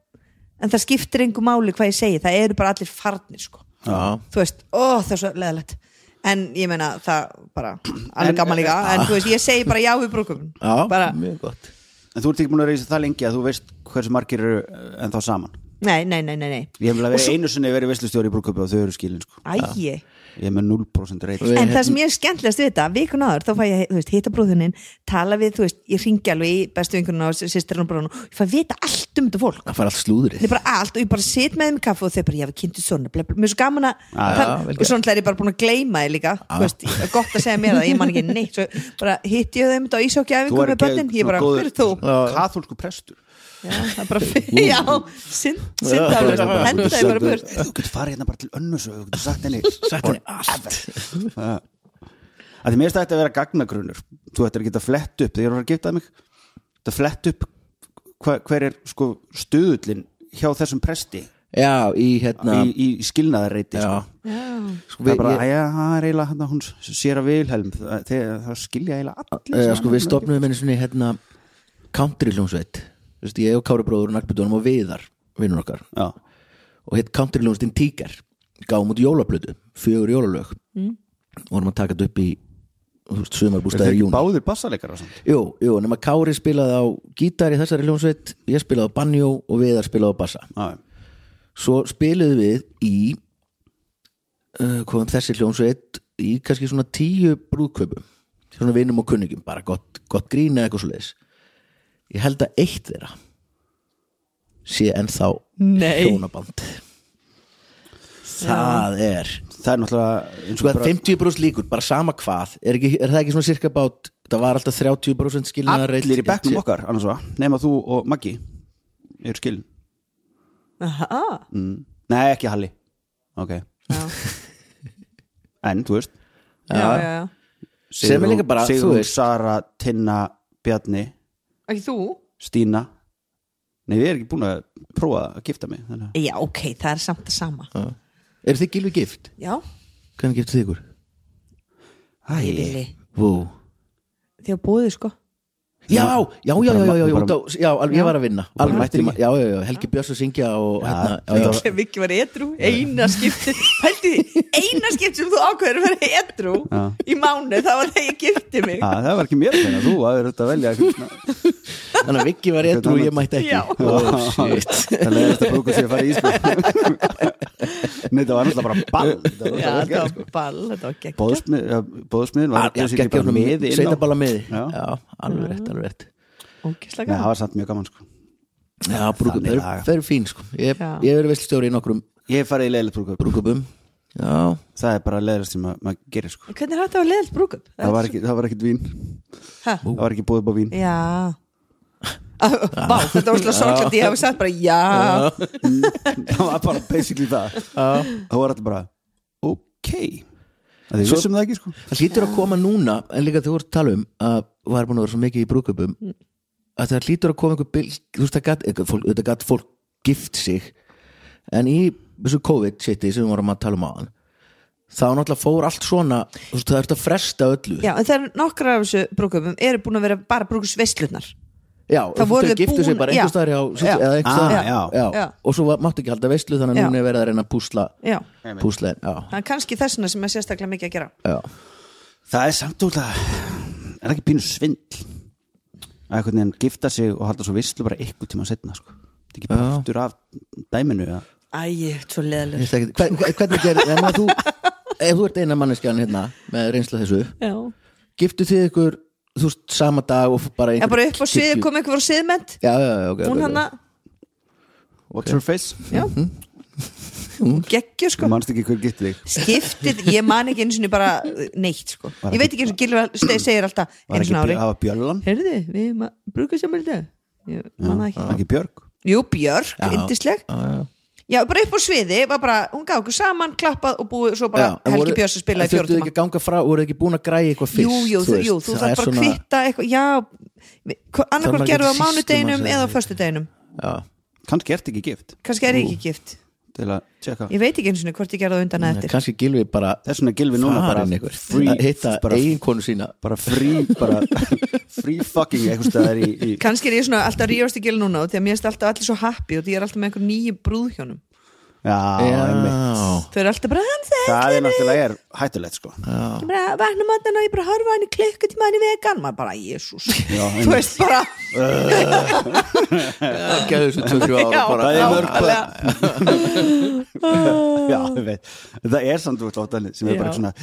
en það skiptir engu máli hvað ég segi, það eru bara allir farnir sko.
Já.
þú veist, ó það er svo leðalegt en ég meina það bara alveg
En-
gaman líka, en þú veist, ég segi bara já við brúkum,
já,
bara,
mjög gott
en þú ert ekki búin að reysa það lengi að þú veist hversu margir eru eh, ennþá saman
nei, nei, nei, nei, nei.
ég hef vel að vera einu sinni verið veslustjóri í brúköpi og þau eru skilin sko,
ægi
ég er með 0% reyta
Við
en
hérna-
það sem ég er skemmtilegast við þetta, vikun áður þá fæ ég, þú veist, hitta brúðuninn, tala við þú veist, ég ringi alveg í bestu vingunum og sýstirinn og brúðunum, ég fæ að vita allt um þetta fólk
það fara allt slúðrið
þetta er bara allt og ég bara sit með þeim í kaffu og þau bara, já við kynntum svona, bla, bla, mér er svo gaman að
já,
tala-
vel
og
gert.
svona er ég bara búin að gleyma þið líka, þú veist, gott að segja mér það ég man ekki neitt, svo bara hitt ég þeim á
þú
ísókjæfingu með börnin, ég bara, hver er þú?
katholsku prestur
Já, það er bara <laughs> já, synd, syndaður henda þið bara burt
þú getur farið hérna bara til önnus og þú getur sagt henni
sagt henni allt
að því mér stætti að vera gagnagrunnur þú ættir að geta flett upp, þegar ég er að fara að gifta mig þetta flett upp hva, hver er sko stuðullin hjá þessum presti
já, í hérna
í, í skilnaðarreiti
já,
sko.
Sko,
það
við,
er bara,
ég,
æja, það er eiginlega hérna hún sér að Vilhelm, það, það, það skilja eiginlega allir
eh,
sem
sko,
hann
við
er
stopnum einu svona hérna country hljómsveit Þú veist, ég og Kári bróður og Nagbjörnum og Viðar vinnur okkar
með. já,
og hitt country hljómsveitin Tíkar gáum út jólablötu, fjögur jólalög vorum að taka þetta upp í sumarbústaði
ekki
júni
báðir bassaleikar
Jú, jú, nema Kári spilaði á gítar í þessari hljómsveit, ég spilaði á banjó og Viðar spilaði á bassa. Svo spiluðu við í uh, komum þessi hljómsveit í kannski svona tíu brúðkaupum svona vinum og kunningum, bara gott, gott grín eða eitthvað svo leiðis. Ég held að eitt þeirra sé ennþá
Nei.
hjónaband. Það er
það er náttúrulega eins
Sko
og
að 50% líkur, bara sama hvað er, ekki, er það ekki svona cirka bát það var alltaf 30% skilnaðar
allir í bekknum okkar annars var, nema þú og Maggi eru skilin
Aha,
mm. nei, ekki Halli ok,
já,
en þú veist
já, já, já.
Sem er
Sigrún-
líka bara, þú
Sigrún,
veist.
Sara, Tinna, Bjarni
Ekki þú?
Stína nei, við erum ekki búin að prófa að gifta mig þannig. að-
Já, ok, það er samt að sama
Er þið gilvi gift?
Já,
Hvernig giftu þið ykkur?
ég villi
Vó
Því að búið sko
Já, já, já, já, já, já, já,
Bara-
já, já alveg, ég var að vinna
Bara
alveg
mættir
mætti-
ekki?
Já, já, já, Helgi Björns að syngja og hérna, já, já,
Sem ekki var edru, eina skipti Pældi því, eina skipti sem þú ákveður að vera edru Í mánu, það var þegar ég gifti mig
að, það var ekki mér þannig að þú að þetta velja
<laughs>
svona-
þannig að Viggi var eitthvað og ég mætti ekki
Já.
Ó, shit.
það leiðist að brúka sér að fara í sko.
<laughs>
nei, það var náttúrulega bara ball Þetta var
Já,
náttúrulega
það
vel
var ball, þetta var gegn
Bóðsmið, ja, bóðsmiðin var
Ah, Já,
Bjössi ekki bara
geggjum
með inn á-
Sveitabala miði
Já.
Já, alveg rétt, alveg rétt
Nei,
Ógislega gaman
það var samt mjög gaman sko.
Já, brúkup,
Þannig
það
laga.
er- það er fín sko Ég
Já.
ég hef verið veiststjóri í nokkrum
Ég hef farið í leiðilegt brúðkaup
brúkupum Já,
Það er bara leiðilegt sem að- maður gerir sko.
Hvernig er þetta að leðalt brúkup?
það, var ekki, það var ekkit vín
Ha?
Það var ekki búið upp á vín
Já <laughs> Vá, þetta var svolítið sorglætt Ég hafi sagt bara já
Það var bara basically það Það var alltaf bara Ok Það er
Svo-
vissum það ekki sko
Það hlýtur að koma núna en líka þú voru að tala um að þú var búin að vera svo mikið í brúköpum
Mm.
að það hlýtur að koma einhver bylg þú veist það gat, eitthvað fólk, þetta gat fólk gift sig en í þessu COVID shiti sem við vorum að tala um á hann þá náttúrulega fór allt svona þú veist það ert að fresta öllu
Já, en það er nokkra af þessu brúkupum eru búin að vera bara brúkusveislunar
já
Það voru
þau
þau
giftu sig
búin-
bara
já.
einhver staðar á
Já.
eða einhver
Ah,
staðar
já.
Já.
og svo var- máttu ekki halda veistlu þannig
Já.
að núna er verið að reyna að púsla
Já,
púsla já,
það er kannski þessuna sem er sérstaklega mikið að gera
já.
Það er samt úr það Er það ekki pínu svindl Að einhvern veginn gifta sig og halda svo visslu bara einhvern tíma setna sko Það er ekki partur af dæminu ja.
Æ, ég er svo
Ég
leðalur
veist ekki- hver- hver- hvernig gerir en að þú ef þú ert eina manneskjan hérna með reynsla af þessu
Já
giftu þið ykkur þú veist, sama dag og bara
Já,
einhver
bara upp á svið
kirkju-
kom einhver á sviðmend
já, já, já, ok, ok,
Hún
ok.
hanna,
What's your face?
já <laughs> Hún geggjur
Þú
sko
manst ekki hver gifti þig
Skiptið, ég man ekki einu sinni bara uh, neitt sko Ég veit ekki eins og Gilvar segir alltaf
Var
einu
ekki
sinni ári
björ, hafa björlan?
Heyrðu, við brúkum sem er þetta Ég man það ekki
Var ekki björg?
Jú, Björk, yndisleg
Já, já, já.
Já, bara upp á sviði, var bara, hún gaf okkur saman klappað og búið, svo bara
Já, en
Helgi
voru-
Björns að
en
spila í fjóra
þurftu
tíma
ekki að ganga frá, voru ekki búin að græja eitthvað fyrst
Jú, jú, þú,
veist,
jú, þú
það
þarf
er
bara að kvitta eitthvað, já
Þarf maður
annarkvort
ekki
gerðu á
sýslumann
mánudeginum
sem-
eða á föstudeginum
já,
Kannski ert ekki gift
kannski er ég ekki gift,
til að tjekka
ég veit ekki eins og hvort ég gerðu á undan eða
en
eftir
kannski gilvi bara
Þess vegna gilfi núna bara
farin ykkur
free,
að hitta
bara,
eiginkonu sína
bara free bara <laughs> free fucking eitthvað staðar í, í
kannski er ég svona alltaf rífast í gil núna og því að mér erst alltaf allir svo happy og því ég er alltaf með einhver nýju brúðhjónum
Já, einmitt
þau eru alltaf bara, hann það
Það er náttúrulega er hættulegt sko
ég bara vakna mótan og ég bara horfa á hann í klukkutíma hann í vegan, maður bara, jésús
einmitt.
þú veist bara,
gæðu þessu 23 ára
Já,
bara
Það
Já,
er mörg
alveg.
Já, ég veit Það er samt út ofta sem er bara
Já.
svona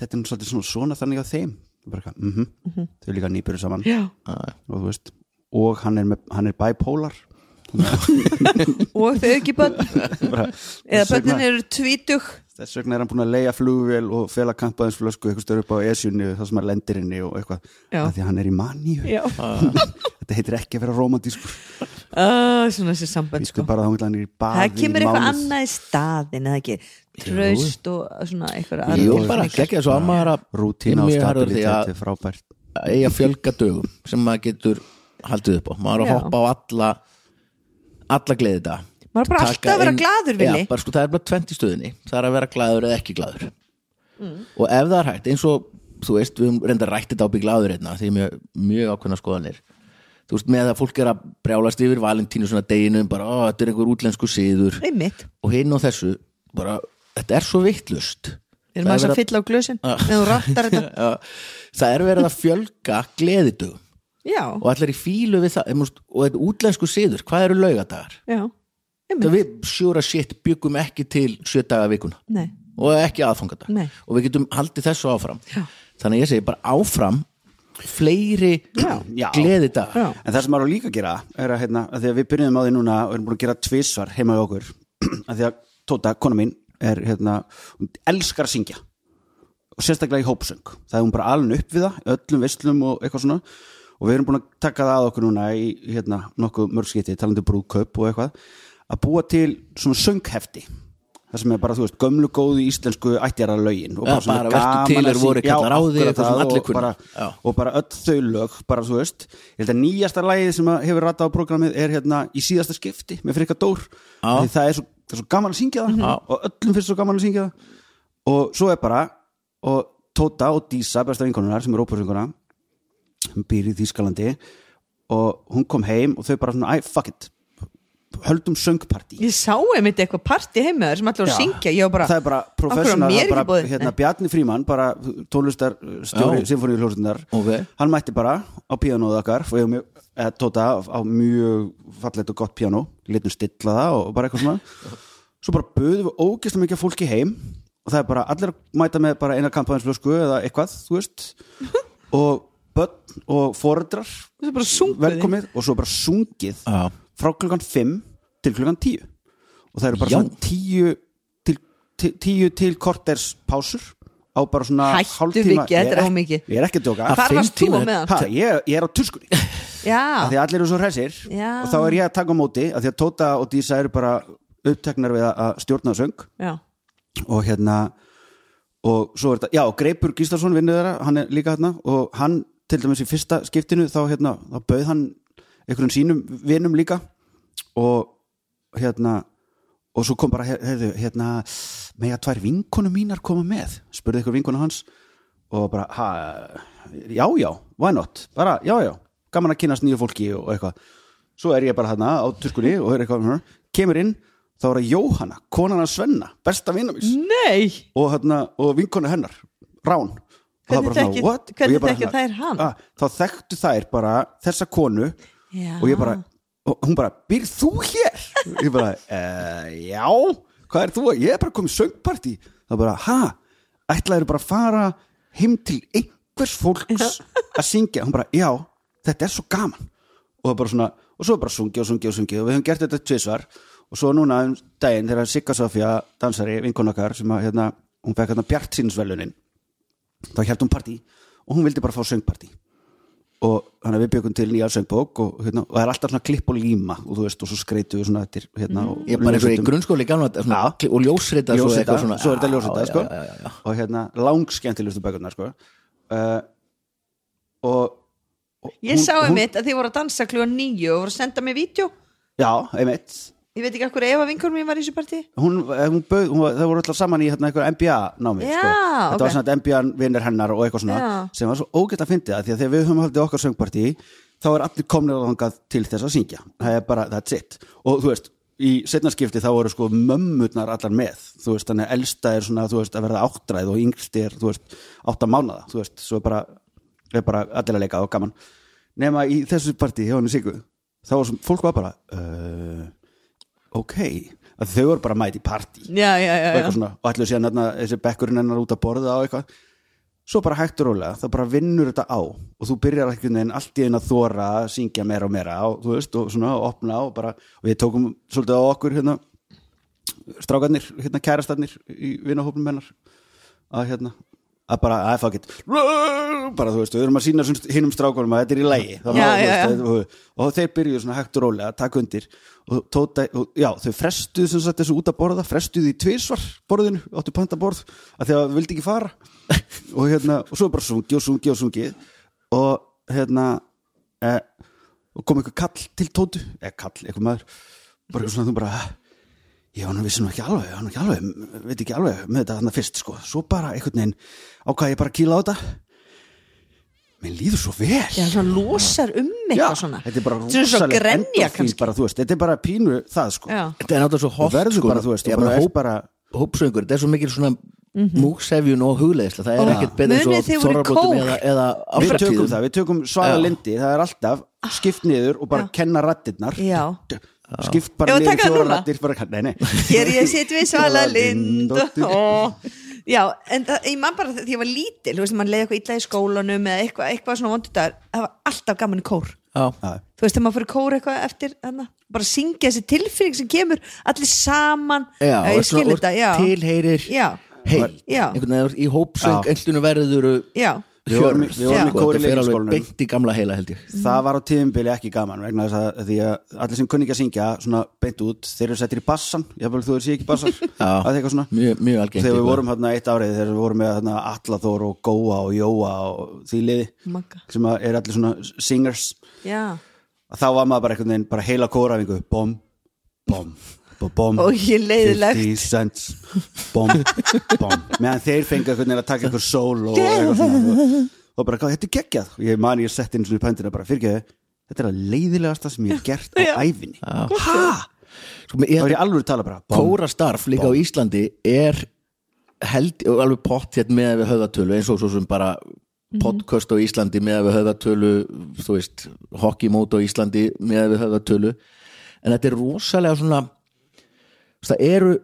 Þetta er nú svolítið svona svona þannig á þeim bara, eitthvað, mhm, Þau er líka nýbyrðu saman
já
og þú veist og hann er, með, hann er bipolar
og þau ekki
<laughs>
bönn
bara,
<laughs> eða
þess vegna-
bönnin eru tvítug
þess vegna er hann búin að leiða flugvél og fela kampaðinsflösku eitthvað stöður upp á esjunni þar sem hann lendir henni og eitthvað
Já.
af því að hann er í maníu
já,
<laughs> þetta heitir ekki að vera romantískur
Ah, svona þessi sambönd
Vístu
sko
bara þá hann er í baði
það kemur
í
eitthvað
mánuð.
annað í staðin eða ekki, traust og svona eitthvað aðra
jú,
tilfinningar.
bara geggja þessu ammara
rútína og
að
stabilitet er frábært
eiga fjölga dögum sem maður getur haldið upp á maður er
Já.
að hoppa á alla alla gleði þetta
Maður er bara alltaf að vera glaður, Villi.
já, bara, sko, það er bara 20 stöðinni það er að vera glaður eða ekki glaður og ef það er hægt eins og þú veist, við höfum reynda rættið á bygglaður hérna, því mjög, mjög ákveðna skoðanir þú veist, með að fólk er að brjálast yfir Valentínu svona deginum, bara, ó, þetta er einhver útlensku síður
einmitt
og hinn og þessu bara, þetta er svo vittlust
Við erum
Það
aðeins
er
að
verið
fylla á glösin
Ah.
Þegar þú rattar þetta
<laughs>
Já, það er verið að fjölga gleðidugum
Já,
og allir í fílu við það em, þú veist, og þetta er útlensku siður, hvað eru laugadagar?
já,
Það við sure as shit byggum ekki til sjö daga vikuna
nei,
og ekki aðfangadag
Nei.
og við getum haldið þessu áfram
Já.
þannig að ég segi bara áfram fleiri
Já.
gleðidag
já
En það sem maður á líka að gera er að, hérna, að því að við byrjum á því núna og erum búin að gera tvisvar heima við okkur <clears throat> að því að Tóta, kona mín, er hérna, hún elskar að syngja og sérstaklega í hópsöng það er hún bara alveg upp við það, í öllum veslum og eitthvað svona og við erum búin að taka það að okkur núna í hérna, nokkuð mörgskiti talandi um brúðkaup og eitthvað að búa til svona sönghefti það sem er bara, þú veist, gömlu góðu íslensku ættjara lögin og
Já, bara vertu til er voru kallar á þig, eitthvað sem allir kunna.
kunna
Já.
og bara öll þau lög bara þú veist, ég held að nýjasta lagið sem að hefur ratað á prógramið er hérna í síðasta skipti með Frikka Dór
Já. Mhm.
því það er, svo, það er svo gaman að syngja það og öllum finnst svo gaman að syngja það og svo er bara og Tóta og Dísa, besta vinkonunar sem er ópersönguna hún býr í Þýskalandi og hún kom heim og þau bara svona, æ, fuck it höldum söngpartí
Ég sá einmitt eitthvað parti heima þar sem allir voru að
Já.
syngja Ég var bara,
það er bara
Af hverju
professional
var mér
það er
ekki
bara,
boðið?
hérna,
Nei.
Bjarni Fríman, bara tónlistarstjóri
Já.
symfóníuljóðsundar
Ok.
hann mætti bara á píanóðu okkar og ég var mjög, eða Tóta á mjög fallegt og gott píanó, litum stilla það og bara eitthvað svona svo bara buðum við ógeðslega mikið af fólki heim og það er bara allir að mæta með bara eina kampaðinsflösku eða eitthvað, þú
<laughs>
veist og börn og foreldrar
það er bara Ah. sunguð
velkomið og svo bara sungið
Já.
frá klukkan 5 til klukkan 10 og það eru bara
Já.
svona 10 til, til, 10 til korters pásur á bara svona
Hættu,
hálftíma
Viggi, þetta er
Ég
of mikið.
ég er ekki að djóka
Hvar
Fimm
varst þú
tíma-
á meðan?
ha, ég, ég er á tuskunni af því
Já,
að allir eru svo hressir
Já.
og þá er ég að taka á móti af því að Tóta og Dísa eru bara uppteknar við að- að stjórna söng
já,
og hérna og svo er þetta, já, Greipur Gíslason vinnur þeirra, hann er líka hérna og hann, til dæmis í fyrsta skiptinu þá hérna, þá bauð hann einhverjum sínum vinnum líka og hérna og svo kom bara, he- heyrðu, hérna mega tvær vinkonu mínar koma með spurði ykkur vinkonu hans og bara, ha, já, já, why not bara, já, já, gaman að kynast nýju fólki og eitthvað, svo er ég bara þarna á turkunni og er eitthvað, hm, kemur inn þá er að Jóhanna, konan að Svenna besta vinnamís
nei
og, hérna, og vinkonu hennar Rán Og það
Hvernig
bara svona,
þekkir-
what? Og
hvernig
ég bara
þekkja
svona,
þær hann?
ah, þá þekktu þær bara þessa konu
Já.
og ég bara, og hún bara býr þú hér? ég bara, uh, já hvað er þú? að- Ég er bara komið söngparti þá bara, ha? ætlaðir bara að fara heim til einhvers fólks að syngja, hún bara, já þetta er svo gaman og það bara svona, og svo er bara sungið og sungið og sungið og við höfum gert þetta tvisvar og svo núna um daginn þegar Sigga Sofía dansari, vinkona okkar sem að hérna, hún fekk hérna Bjart sínsvelunin þá hjælt hún partí og hún vildi bara fá söngpartí og hann að við byggum til nýja söngbók og, hérna, og það er alltaf svona klipp og líma og þú veist og svo skreitu við svona eftir hérna, og
Mm. ég er bara eins og í
ljósritum.
grunnskóli gamla, daga, svona,
Já.
og ljósrita svo
ljósrita,
eitthvað svona
svo er þetta ljósrita
Já,
sko.
já, já, já.
og hérna langskemmtilegustu bækurnar sko. uh, og, og
Ég
hún-
sá
hún-
einmitt að þið voru að dansa klugan nýju og voru að senda mér vídeo
já, einmitt
Ég veit ekki af hverju Eva vinkur mín var í þessu partí
hún, eh, hún bauð, hún, var- þau voru alltaf saman í hérna, einhver MBA námi
Já,
sko. þetta
ok.
var svona MBA vinnir hennar og eitthvað svona
Já.
sem var svo ógætt að fyndi það því að þegar við höfum haldið okkar söngpartí þá er allir komnir að þangað til þess að syngja það er bara, that's it og þú veist, í setna skipti þá voru sko mömmurnar allar með, þú veist, þannig að elsta er svona, þú veist, að verða áttræð og yngst er, þú veist, átta mánaða þú veist, svo er bara, er bara allir að leika og gaman, nema í þessu partí hjá henni Sigur, þá var sem, fólk var bara uh, ok að þau voru bara mæti partí
Já, já, já,
og
já.
eitthvað svona, og allir síðan þarna, þessi bekkurinn hennar út að borða og eitthvað svo bara hægt og rólega, það bara vinnur þetta á og þú byrjar ekki neginn allt í einu að þóra að syngja meira og meira og þú veist, og svona, og opna og bara, og við tókum svolítið á okkur hérna strákarnir, hérna kærastarnir í vinahópnum hennar að hérna, að bara, að fuck it bara, þú veist, við erum að sína hinnum strákunum að þetta er í lægi já,
Já, já, já.
og, og þeir byrjuðu svona hægt og rólega að taka undir og, tóta, og já, þau frestuðu sem sagt þessu út að borða frestuðu í tvisvar borðinu, áttu panta borð að þegar þau vildi ekki fara <laughs> og hérna, og svo bara sungi og sungi og sungi og hérna eh, og kom einhver kall til tótu eða kall, einhver maður bara eitthvað svona, þú bara ég var nú vissi nú ekki alveg, ég var nú ekki alveg veit ekki alveg með þetta þarna fyrst sko svo bara einhvern veginn ákvað ég bara að kýla á þetta mér líður svo vel
Já, svona losar um eitthvað svona
þetta er bara
Þetta er svo
rosaleg
grenja
endorfín
kannski
bara, þú veist, þetta er bara pínu það sko
Já,
þetta er náttúrulega svo
þú
hótt
verður
sko,
bara, þú
ég
veist, þú
er bara
bara,
hóp,
bara, bara
hópsöngur, þetta er svo mikil svona mm -hmm. múksefjun og hugleðisla það er
Ó,
ekkert betur
Mhm. munið þið
svo
voru í
þorrabótum
kór.
eða, eða
Við tökum
áframtíðum
það, við tökum svala
Já.
lindi Það er alltaf skipt niður og bara kenna rattirnar
Já.
Skipt
Ef
bara
við
niður
taka það
fjóra
núna?
rattir bara, Nei, nei
Hér ég sitt við Svala Lind
Dóttir.
Ó. Já, en það, ég man bara þegar ég var lítil, þú veist, mann leiði eitthvað illa í skólanum eða eitthvað, eitthvað svona vondutar það var alltaf gaman í kór
Já.
Já.
þú veist, þegar maður fyrir kór eitthvað eftir hana, bara syngja þessi tilfinning sem kemur allir saman Eh,
Já,
ég skil
svona,
þetta, já
tilheyrir
já,
heild,
Já.
einhvern veginn í hópsöng
Já.
einhvern verður
já,
Við vorum í- við vorum í
sko,
kór í
þetta fer alveg
leikskólanum.
beint í gamla heila held ég
Það var á tíðumbili ekki gaman vegna þess að því að allir sem kunni ekki að syngja svona beint út, þeir eru settir í bassan jafnvel þú sé ekki bassan að eitthvað svona
mjög, mjög algengt
þegar við
eitthvað.
vorum hérna eitt árið þegar við vorum með hérna Allaþór og Góa og Jóa og því liði
Magga.
sem að er allir svona singers
já
þá var maður bara einhvern veginn bara heila kórafingu bom, bom, bom, bom
Og ég leiðilegt.
50 cents, bom, bom meðan þeir fengu einhvern veginn að taka einhver sól og, eitthvað svona og, og bara, "Hvað, þetta er geggjað og ég mani ég setti eins og í pöndina bara, fyrirgeðu þetta er að leiðilegasta sem ég hef gert á æfinni hæ?
Sko, ég
þá
held
er ég alveg að tala bara bom,
kórastarf líka á Íslandi er held og alveg pott hérna með við höfðatölu eins og svo sem bara
Mhm.
podcast á Íslandi með við höfðatölu þú veist, hockeymót á Íslandi með við höfðatölu en þetta er rosalega svona það eru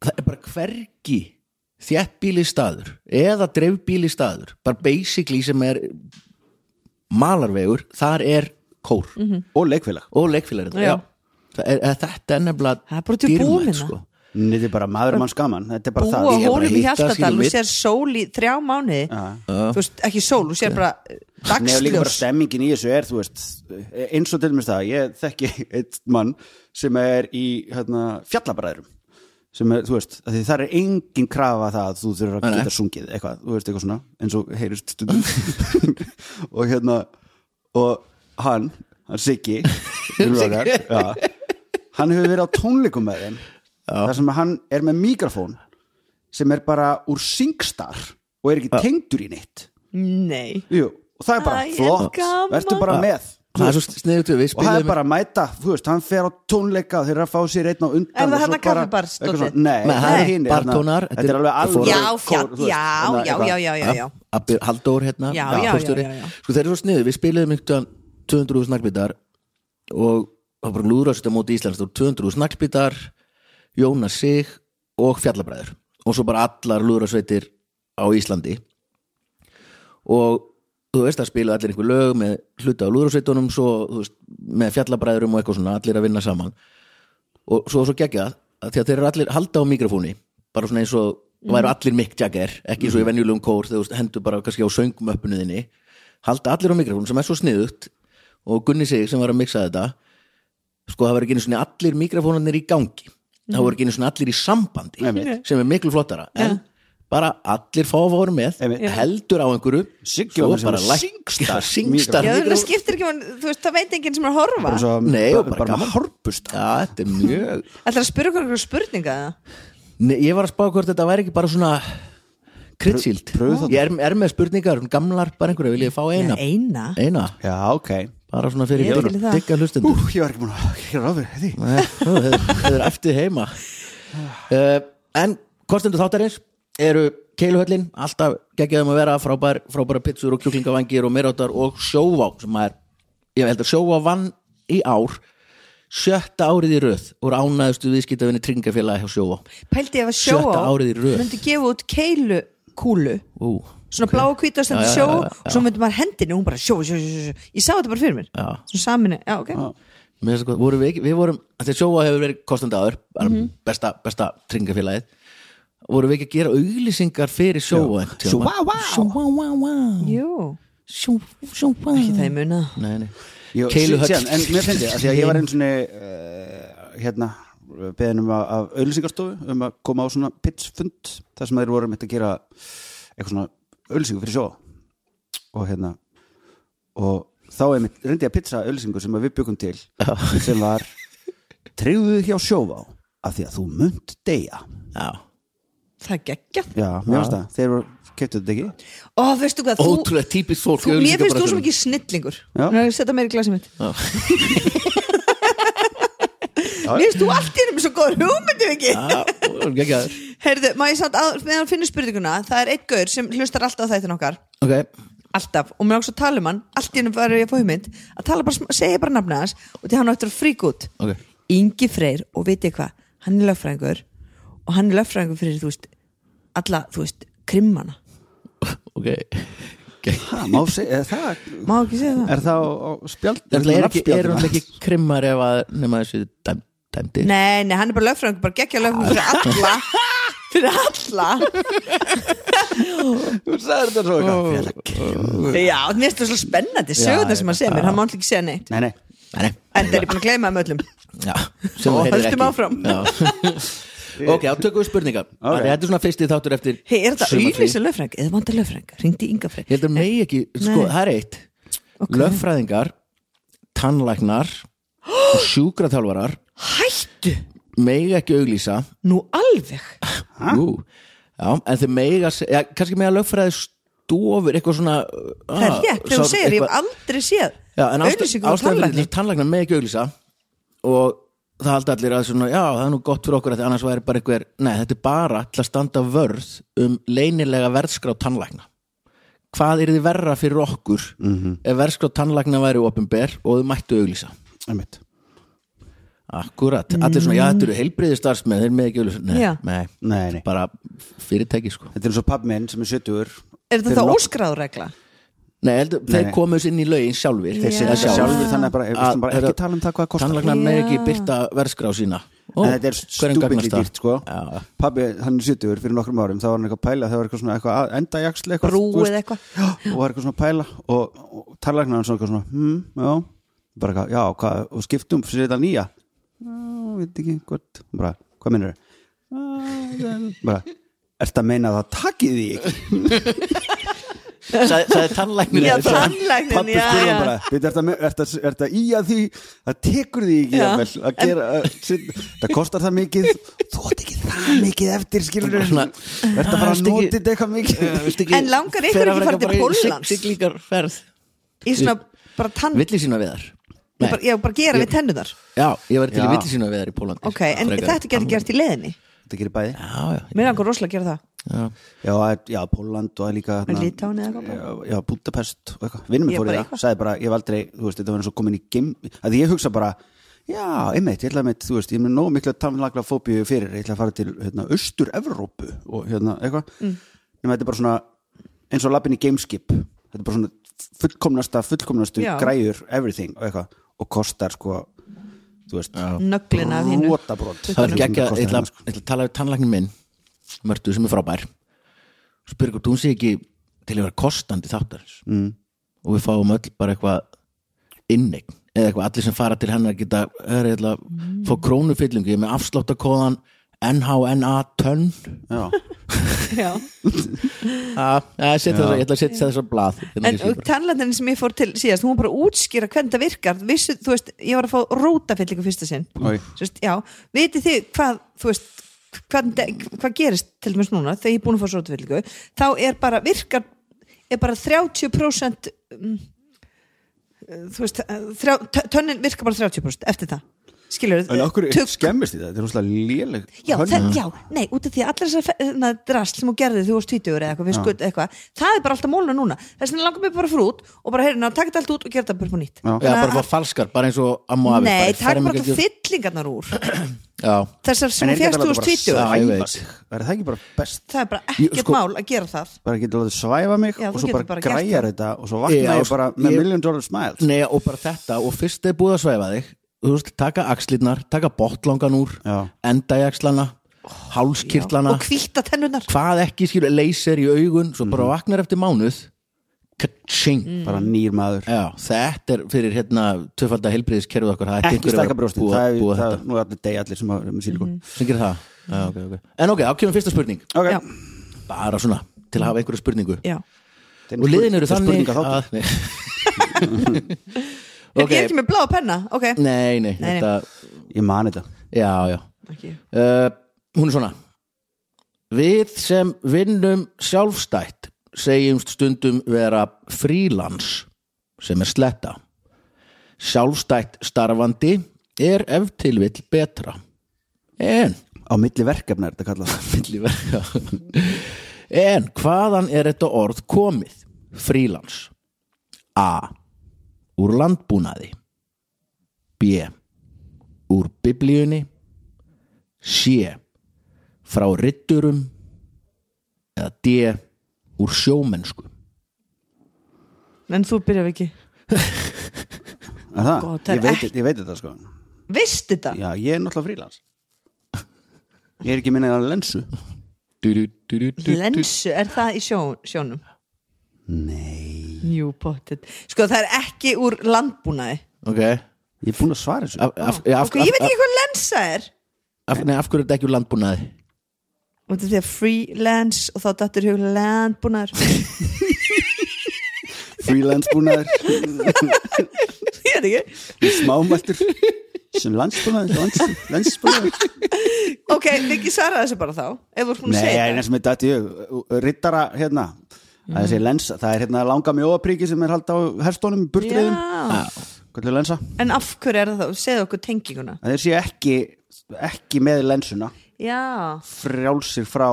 það er bara hvergi þjættbíli staður eða dreifbíli staður bara basically sem er malarvegur, þar er kór
og leikfélag
og leikfélagir
Mhm. Já.
Það er, er þetta er nefnilega
Það er bara sko. til
dýrmætt, sko.
búmina.
Nei, þetta er bara maður manns gaman þetta er bara
búa
það
á
Ég er bara að
hólum í
hitta,
Hjaltadal
skilur
þú
við.
sér sól í þrjá mánuði þú veist, ekki sól, þú sér bara eh,
Nei, og líka bara
dagsljós
stemmingin í þessu er, þú veist, eins og til mér það, ég þekki eitt mann sem er í hérna, fjallabræðrum sem er, þú veist, af því það er engin krafa það að þú þurfir að
Nei, nei.
geta sungið eitthvað, þú veist, eitthvað svona, eins og
<laughs>
heyrist stundum og hérna og hann, hann
<laughs>
Siggi Siggi hann hefur verið á tónleikum með þeim þar sem hann er með mikrofón sem er bara úr singstar og er ekki tengdur í neitt
nei,
Jú, og það er bara
Æ, en
flott,
gaman.
verður bara
Já.
með
það er svo sniðut við
og það er
spilum
bara að mæta, þú veist, hann fer á tónleika og þeir eru að fá sér einn á undan og
Er það
svo
þarna
bara-
kaffibarsdótið?
eitthvað svona- Nei,
Nei,
það er
nei.
hinn
Bartónar,
þetta er alveg alveg
já, fjall,
kór, þú veist,
já,
þannig að
já,
eitthvað-
já, já, já, já
Abbi Halldór hérna
Já, já, já,
kórstjóri.
já, já.
sko þeir eru svo sniðu, við spilum yktan 200 snakkbitar og það var bara lúðrásut á móti Íslands það voru 200 snakkbitar, Jónas Sig og Fjallabræður og svo bara allar lúðrásveitir á Íslandi og þú veist að spila allir einhver lög með hluta á lúðrásveitunum svo þú veist, með fjallabræðurum og eitthvað svona allir að vinna saman og svo, svo geggja að því að þeir eru allir halda á mikrofóni bara svona eins og
Mhm.
væru allir Mick Jagger ekki eins og í venjulegum kór þegar þú hendur bara kannski á söngmöppinu þinni halda allir á mikrofónu sem er svo sniðugt og Gunni sig sem var að mixa þetta sko það var ekki einu svona allir mikrofónarnir í gangi það voru ekki einu svona allir í sambandi
Mhm. Einmitt.
sem er miklu flottara en bara allir fá að voru með
Einmitt.
heldur á einhverju
Siggi
svo
var með sem
bara
var
læk- <laughs>
singstar-
singstar
já, það
mikrofón.
skiptir ekki, mann- þú veist, það veit enginn sem er að horfa
Bara svo-
Nei, og bara
bara
gaman.
með horpust
Já, þetta er mjög
ætlar að spyrja okkur einhverja spurninga eða?
Nei, ég var að spá hvort þetta væri ekki bara svona kryddsíld
Pröf- pröfuþáttur.
Ég er, er með spurningar, um gamlar bara einhverja vil ég fá eina,
eina
eina.
já, ok
bara svona fyrir
Ég er til í það.
digga
Ú,
hlustendur
ég var ekki búin að gera ráð fyrir því
Nei, nú, Þeir þeir eru eftir heima uh, En kostendur þáttarins eru keiluhöllin alltaf geggjaðum að vera frábær, frábæra pizzur og kjúklingavangir og meiráttar og sjóvá sem er, ég held að sjóvá vann í ár sjötta árið í röð og ánæðustu viðskiptafinni tryggingafélaga hjá sjóvá
pældi ég að sjó
Sjötta
á
árið í röð.
myndi gefa út keilu kúlu
Ú,
svona blá og hvita stendur
Já, já,
sjó
já, já,
og svo myndi maður hendinu og hún bara sjó, sjó, sjó, sjó, sjó. ég sá þetta bara fyrir mér
já
svona saminu, já ok
Mér finnst það gott. vorum við, ekki, við vorum, af því að sjóa hefur verið kostandi áður, bara
Mhm.
besta, besta tryggingafélagið vorum við ekki að gera auglýsingar fyrir sjóa einhvern tímann?
Sjóvá, vá.
sjóvá, vá, vá.
jú,
Sjó- sjóvá
ekki það ég muna
Nei, nei.
Jú,
Keiluhöll.
síðan, en mér finnst ég, af því að ég var einu svona uh, hérna, beðin um að, af auðlýsingarstofu um að koma á svona pitchfund þar sem þeir voru mitt að gera eitthvað svona auðlýsingu fyrir sjó og hérna og þá er mitt, reyndi ég að pitcha auðlýsingu sem að við byggum til sem var treyðu hjá sjóvá af því að þú munt deyja
Já.
það geggjað,
já, mér finnst það, þeir voru keftu þetta ekki
og veistu hvað þú,
Ótrúlega típist fólk
þú
í
mér finnst þú
auglýsingabranssanum.
svo mikið snillingur
Já.
Nú, setja meir í glasið mitt <laughs>
Já.
mér finnst þú allt í hennum svo góður hugmyndum ekki
Já, og geggjað.
Heyrðu, má ég samt að, meðan finnur spurninguna það er einn gaur sem hlustar alltaf á þættin okkar
ok,
alltaf, og mér ákveðs að tala um hann allt í hennu var ég að fá hugmynd að tala bara, sm- segja bara nafna hans og því hann á eftir að frík út
Ok.
Ingi Freyr, og veit ég hvað hann er lögfræðingur og hann er lögfræðingur fyrir, þú veist, alla, þú veist krimmana,
ok
Ha, má segja, er það
má ekki segja það?
er það á, á spjald
Er það er ekki, er
nafnspjaldina?
hann ekki krimmar ef að nema þessu dæm, dæmdi
Nei, nei, hann er bara lögfræðingur, bara geggja lögfræðingur fyrir
Ah.
alla fyrir alla,
Þú sagðir þetta svo eitthvað Fjallar grimm.
já, og mér finnst það svo spennandi sögurnar sem hann segir mér, hann má alltaf ekki segja neitt
Nei, nei,
Nei,
en það er ég búin að gleyma um öllum
já, sem
Og
það heyrir
höldum
ekki
áfram. <laughs>
Já. Ok, þá tökum við spurningar
Ok.
okay. Þetta er svona fyrsti þáttur eftir
hei, er þetta
sumarfrí.
auðvísa lögfræðing eða vantar lögfræðing, ringdi Inga Freyr
Ég held að megi ekki, sko, það er eitt Löffræðingar, tannlæknar
<gasps>
og sjúkraþjálfarar
hættu,
megi ekki auglýsa
nú alveg
Jú, já, en þeir mega se- já, kannski mega lögfræði stofur eitthvað svona ah,
Það er rétt,
sá-
þegar þú segir, ég
eitthvað-
hef aldrei séð um
Já, en ástæðan
auðlýsingu á
ástæðan fyrir
tannlækni
þessu tannlæknar með ekki auglýsa og það haldi allir að svona, já, það er nú gott fyrir okkur að því annars væri bara einhver, nei, þetta er bara til að standa vörð um leynilega verðskrá tannlækna. Hvað er þið verra fyrir okkur
Mhm.
ef verðskrá tannlækna væri opinber og þau mættu auglýsa?
einmitt
Akkurat, allir svona, já, þetta eru heilbriði starfsmenn, þeir með ekki auglýsa. Nei,
Já.
nei,
Nei, nei.
bara fyrirtæki, sko.
Þetta er eins og papp minn sem er 70
Er þetta þá óskráðregla?
Nei, heldur, þeir
nei.
komu þessu inn í lögin sjálfur, þeir setja
Þetta
sjálfur.
sjálfur þannig að bara, við
Að-
skulum bara ekki
þetta-
tala um það hvað það kostar
Tannlæknar með ekki
Já.
byrta verðskrá sína. Ó,
en þetta er
hverjum
stúbili
gagnast það?
dýrt sko
Já, já.
pabbi, hann er 70 fyrir nokkrum árum þá var hann eitthvað að pæla, það var eitthvað svona eitthvað að- endajaxl eitthvað,
Brú
þú veist,
eða eitthvað.
já, og var eitthvað svona að pæla og, og talarlegnar hann svona eitthvað svona hm, já, bara eitthvað, já, hvað, og skiptum fyrir þetta nýja já, veit ekki, hvort, bara, hvað minnur bara, ert að meina að það takið því ekki
sagði, sagði tannlæknir
Já,
þetta?
tannlæknin,
pabbi
já,
spurði hann
já
bara, veit, ert að, me- ert að, ert að í að því það tekur því ekki
Já.
jafnvel, að gera, að, sit, það kostar það mikið þú átt ekki það mikið eftir skilur ert
Svona,
að fara
"Ah,
að
viltu ekki-
nota þetta eitthvað mikið
Viltu ekki
En langar ykkur
fara
ekki fara til
bara í
Póllands?
sigl- Siglingarferð
Í svona bara tann ég
Villi sína viðar
bara, ég bara gera við tennunar
Já, ég var til í
Já.
villi sína viðar í Pólandi
Ok, en þetta getur gert í leðinni
þetta gerir bæði
Já, já,
Mér er einhver rosalega að gera það
já.
já, að- já Póland og líka
En Litáni eða eitthvað bara?
já, já, Budapest og eitthvað vinnum
Ég
mér fór í
bara
það, sagði bara, ég hef aldrei þú veist, þetta var eins og komin í gim að ég hugsa bara Já, einmitt, ég ætla að mitt, þú veist, ég er með nóg mikla tannlagla fóbíu fyrir, ég ætla að fara til hérna, austur-Evrópu og hérna, eitthvað mm. nema þetta er bara svona eins og lappin í gameskip, þetta er bara svona fullkomnasta, fullkomnastu
Já.
græjur everything og eitthvað, og kostar sko, þú veist,
Nöglina af hínu
rótabrót
Það var geggja, ég ætla ég ætla að tala við tannlæknin minn Mörtu sem er frábær Spyrir hvort hún sé ekki til að vera kostandi þáttarins mm. Og við fáum öll bara eitthvað innig Eða eitthvað allir sem fara til hennar geta er, ætla, mm. Fá krónufyllingu, ég er með afsláttakóðan NHNA tönn
Já,
Já.
Já, já, setja þess að- Ah, ég ætla að setja þess að blað hérna
Ah. En
ekki síðar.
tannlæknin sem ég fór til síðast Hún var bara að útskýra hvernig það virkar Vissu, Þú veist, ég var að fá rótafyllingu fyrsta sinn
Oj.
Þú veist, Já, vitið þið hvað Þú veist, hvað, hvað gerist til dæmis núna Þegar ég er búin að fá svo rótafyllingu Þá er bara virkar Er bara 30% um, Þú veist, þrjá, tö- tönnin virkar bara 30% Eftir það Skilur,
en okkur skemmist í það, þetta er rússlega léleg
Já,
hönnun.
það, já, nei, út af því að allar þessar drast sem hún gerði þegar þú varst 20 eða eitthvað, við skutt eitthvað, það er bara alltaf mólna núna þess vegna langar mig bara að fara út og bara heyrna, taka þetta allt út og gera þetta bara upp á nýtt
Já, bara fá falskar, bara eins og amma og afi
Nei,
bara
taka bara
fermingagjöf-
alltaf fyllingarnar úr
Já,
þessar
En
sem
er
hún
ekki
fjast
bara
þú
bara
varst 20
Já, ég veit.
svæfa sig? Er það ekki bara best
það er bara ekkert
sko-
mál að gera það
bara getur látið svæfa mig
Já, þú
og svo
getur
bara,
bara gert
græjar
það.
þetta og svo vakna
Já,
sko, ég Mm. bara með
ég-
million dollar smile
nei, og bara þetta og fyrst er búið að svæfa þig þú veist, taka axlirnar, taka botlangan úr
Já.
enda í axlana hálskirtlana,
og kvíta tennunar
hvað ekki skilur leyser í augun, svo
Mhm.
bara vaknar eftir mánuð kaching
Mm.
bara nýr maður
Já, þetta er fyrir hérna tvöfalda helbriðiskerfið okkar, það er
ekki
einhverju að
stækka brjóstið,
búa,
það er,
búa
það
þetta
er nú er allir degi allir sem hafa með sílikon
sem gerir það, já, ok, ok en ok, þá kemur fyrsta spurning,
ok,
Mhm. Já,
bara svona til að hafa einhverju spurningu
já
Þetta er
og liðin eru þannig
spurning- spurninga þáttur.
að
<laughs>
nei,
okay. Ég er
Ok. Mm.
ekki með bláa penna, ok
nei, nei,
nei.
þetta
ég man þetta
já, já
Ekki.
uh, hún er svona við sem vinnum sjálfstætt segjumst stundum vera frílans sem er sletta sjálfstætt starfandi er ef til vill betra en
á milli verkefna er þetta kallað
Milliverk En hvaðan er þetta orð komið? Frílans A. Úr landbúnaði B. Úr biblíunni C. Frá ritturum eða D. Úr sjómennsku
en þú byrjar ekki
Er það?
Gott, það er
ég, veit,
ekki-
ég veit þetta sko
Vist þetta?
Já, ég er náttúrulega frílans Ég er ekki minna að lensu
Du-du, du-du, du-du.
Lensu, er það í sjón, sjónum?
Nei
Jú, pottet Sko, það er ekki úr landbúnaði
Ok
Ég er búin að svara þessu
af, af, af,
Ok, ég veit
af,
ekki hvað lensa er
af, nei, af hverju er þetta ekki úr landbúnaði?
Og þetta er freelance og þá dattur hug
<laughs>
landbúnaður
Freelance búnaður <laughs>
Ég veit ekki
Smámæltur Sem landsbúnaður lands- Landsbúnaður
Ok, Viki svaraði þessu bara þá Ef þú ert búin að
Nei,
segja
það er
þetta
eins og mér dætti ég Rittara, hérna Það er þessi lensa, það er hérna langa mjóapríki sem er halda á herstónum í burtriðum
Já.
Hvernig er lensa?
En af hverju er það þá? Segðu okkur tenginguna
Það er sér ekki, ekki með lensuna
Já,
frjálsir frá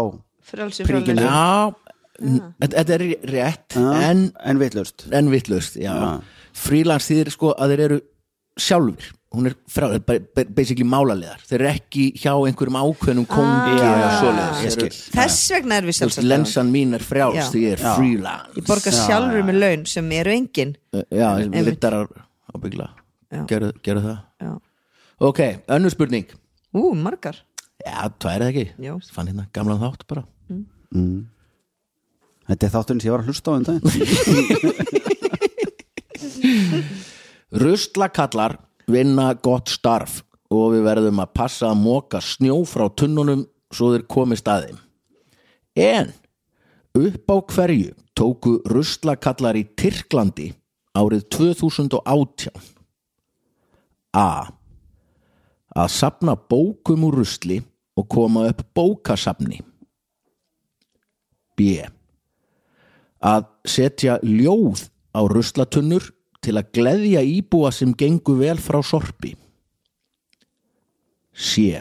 frálsir
Prikinu.
frálsir
Já, n- þetta þetta er rétt En
en vitlaust
en vittlust frílans þýðir sko að þeir eru sjálfur hún er frá, þeir eru bara- ba- basically málaliðar þeir eru ekki hjá einhverjum ákveðnum kongi
Ah, Já,
eða
já,
svoleiðis.
ég
Þeir eru-
skil.
Þess vegna er
þú
við
veist,
sjálfsagt
lensan mín er frjáls
Já.
því ég er
Já.
Ég
frílans
borga
Já,
sjálfur
já,
með laun sem eru engin
Eh, já,
Einmitt.
littarar ábyggla
Já.
gerðu, gerðu það
Já.
ok, önnur spurning
Ú, margar
já, tvær eða ekki,
Jú.
fann hérna gamlan þátt bara
Þetta er þátturinn sem ég var að hlusta á um daginn
Ruslakallar vinna gott starf og við verðum að passa að móka snjó frá tunnunum svo þeir komist að þeim. En upp á hverju tóku ruslakallar í Tyrklandi árið 2018? A. Að sapna bókum úr rusli og koma upp bókasapni. B að setja ljóð á ruslatunnur til að gleðja íbúa sem gengu vel frá sorpi. C.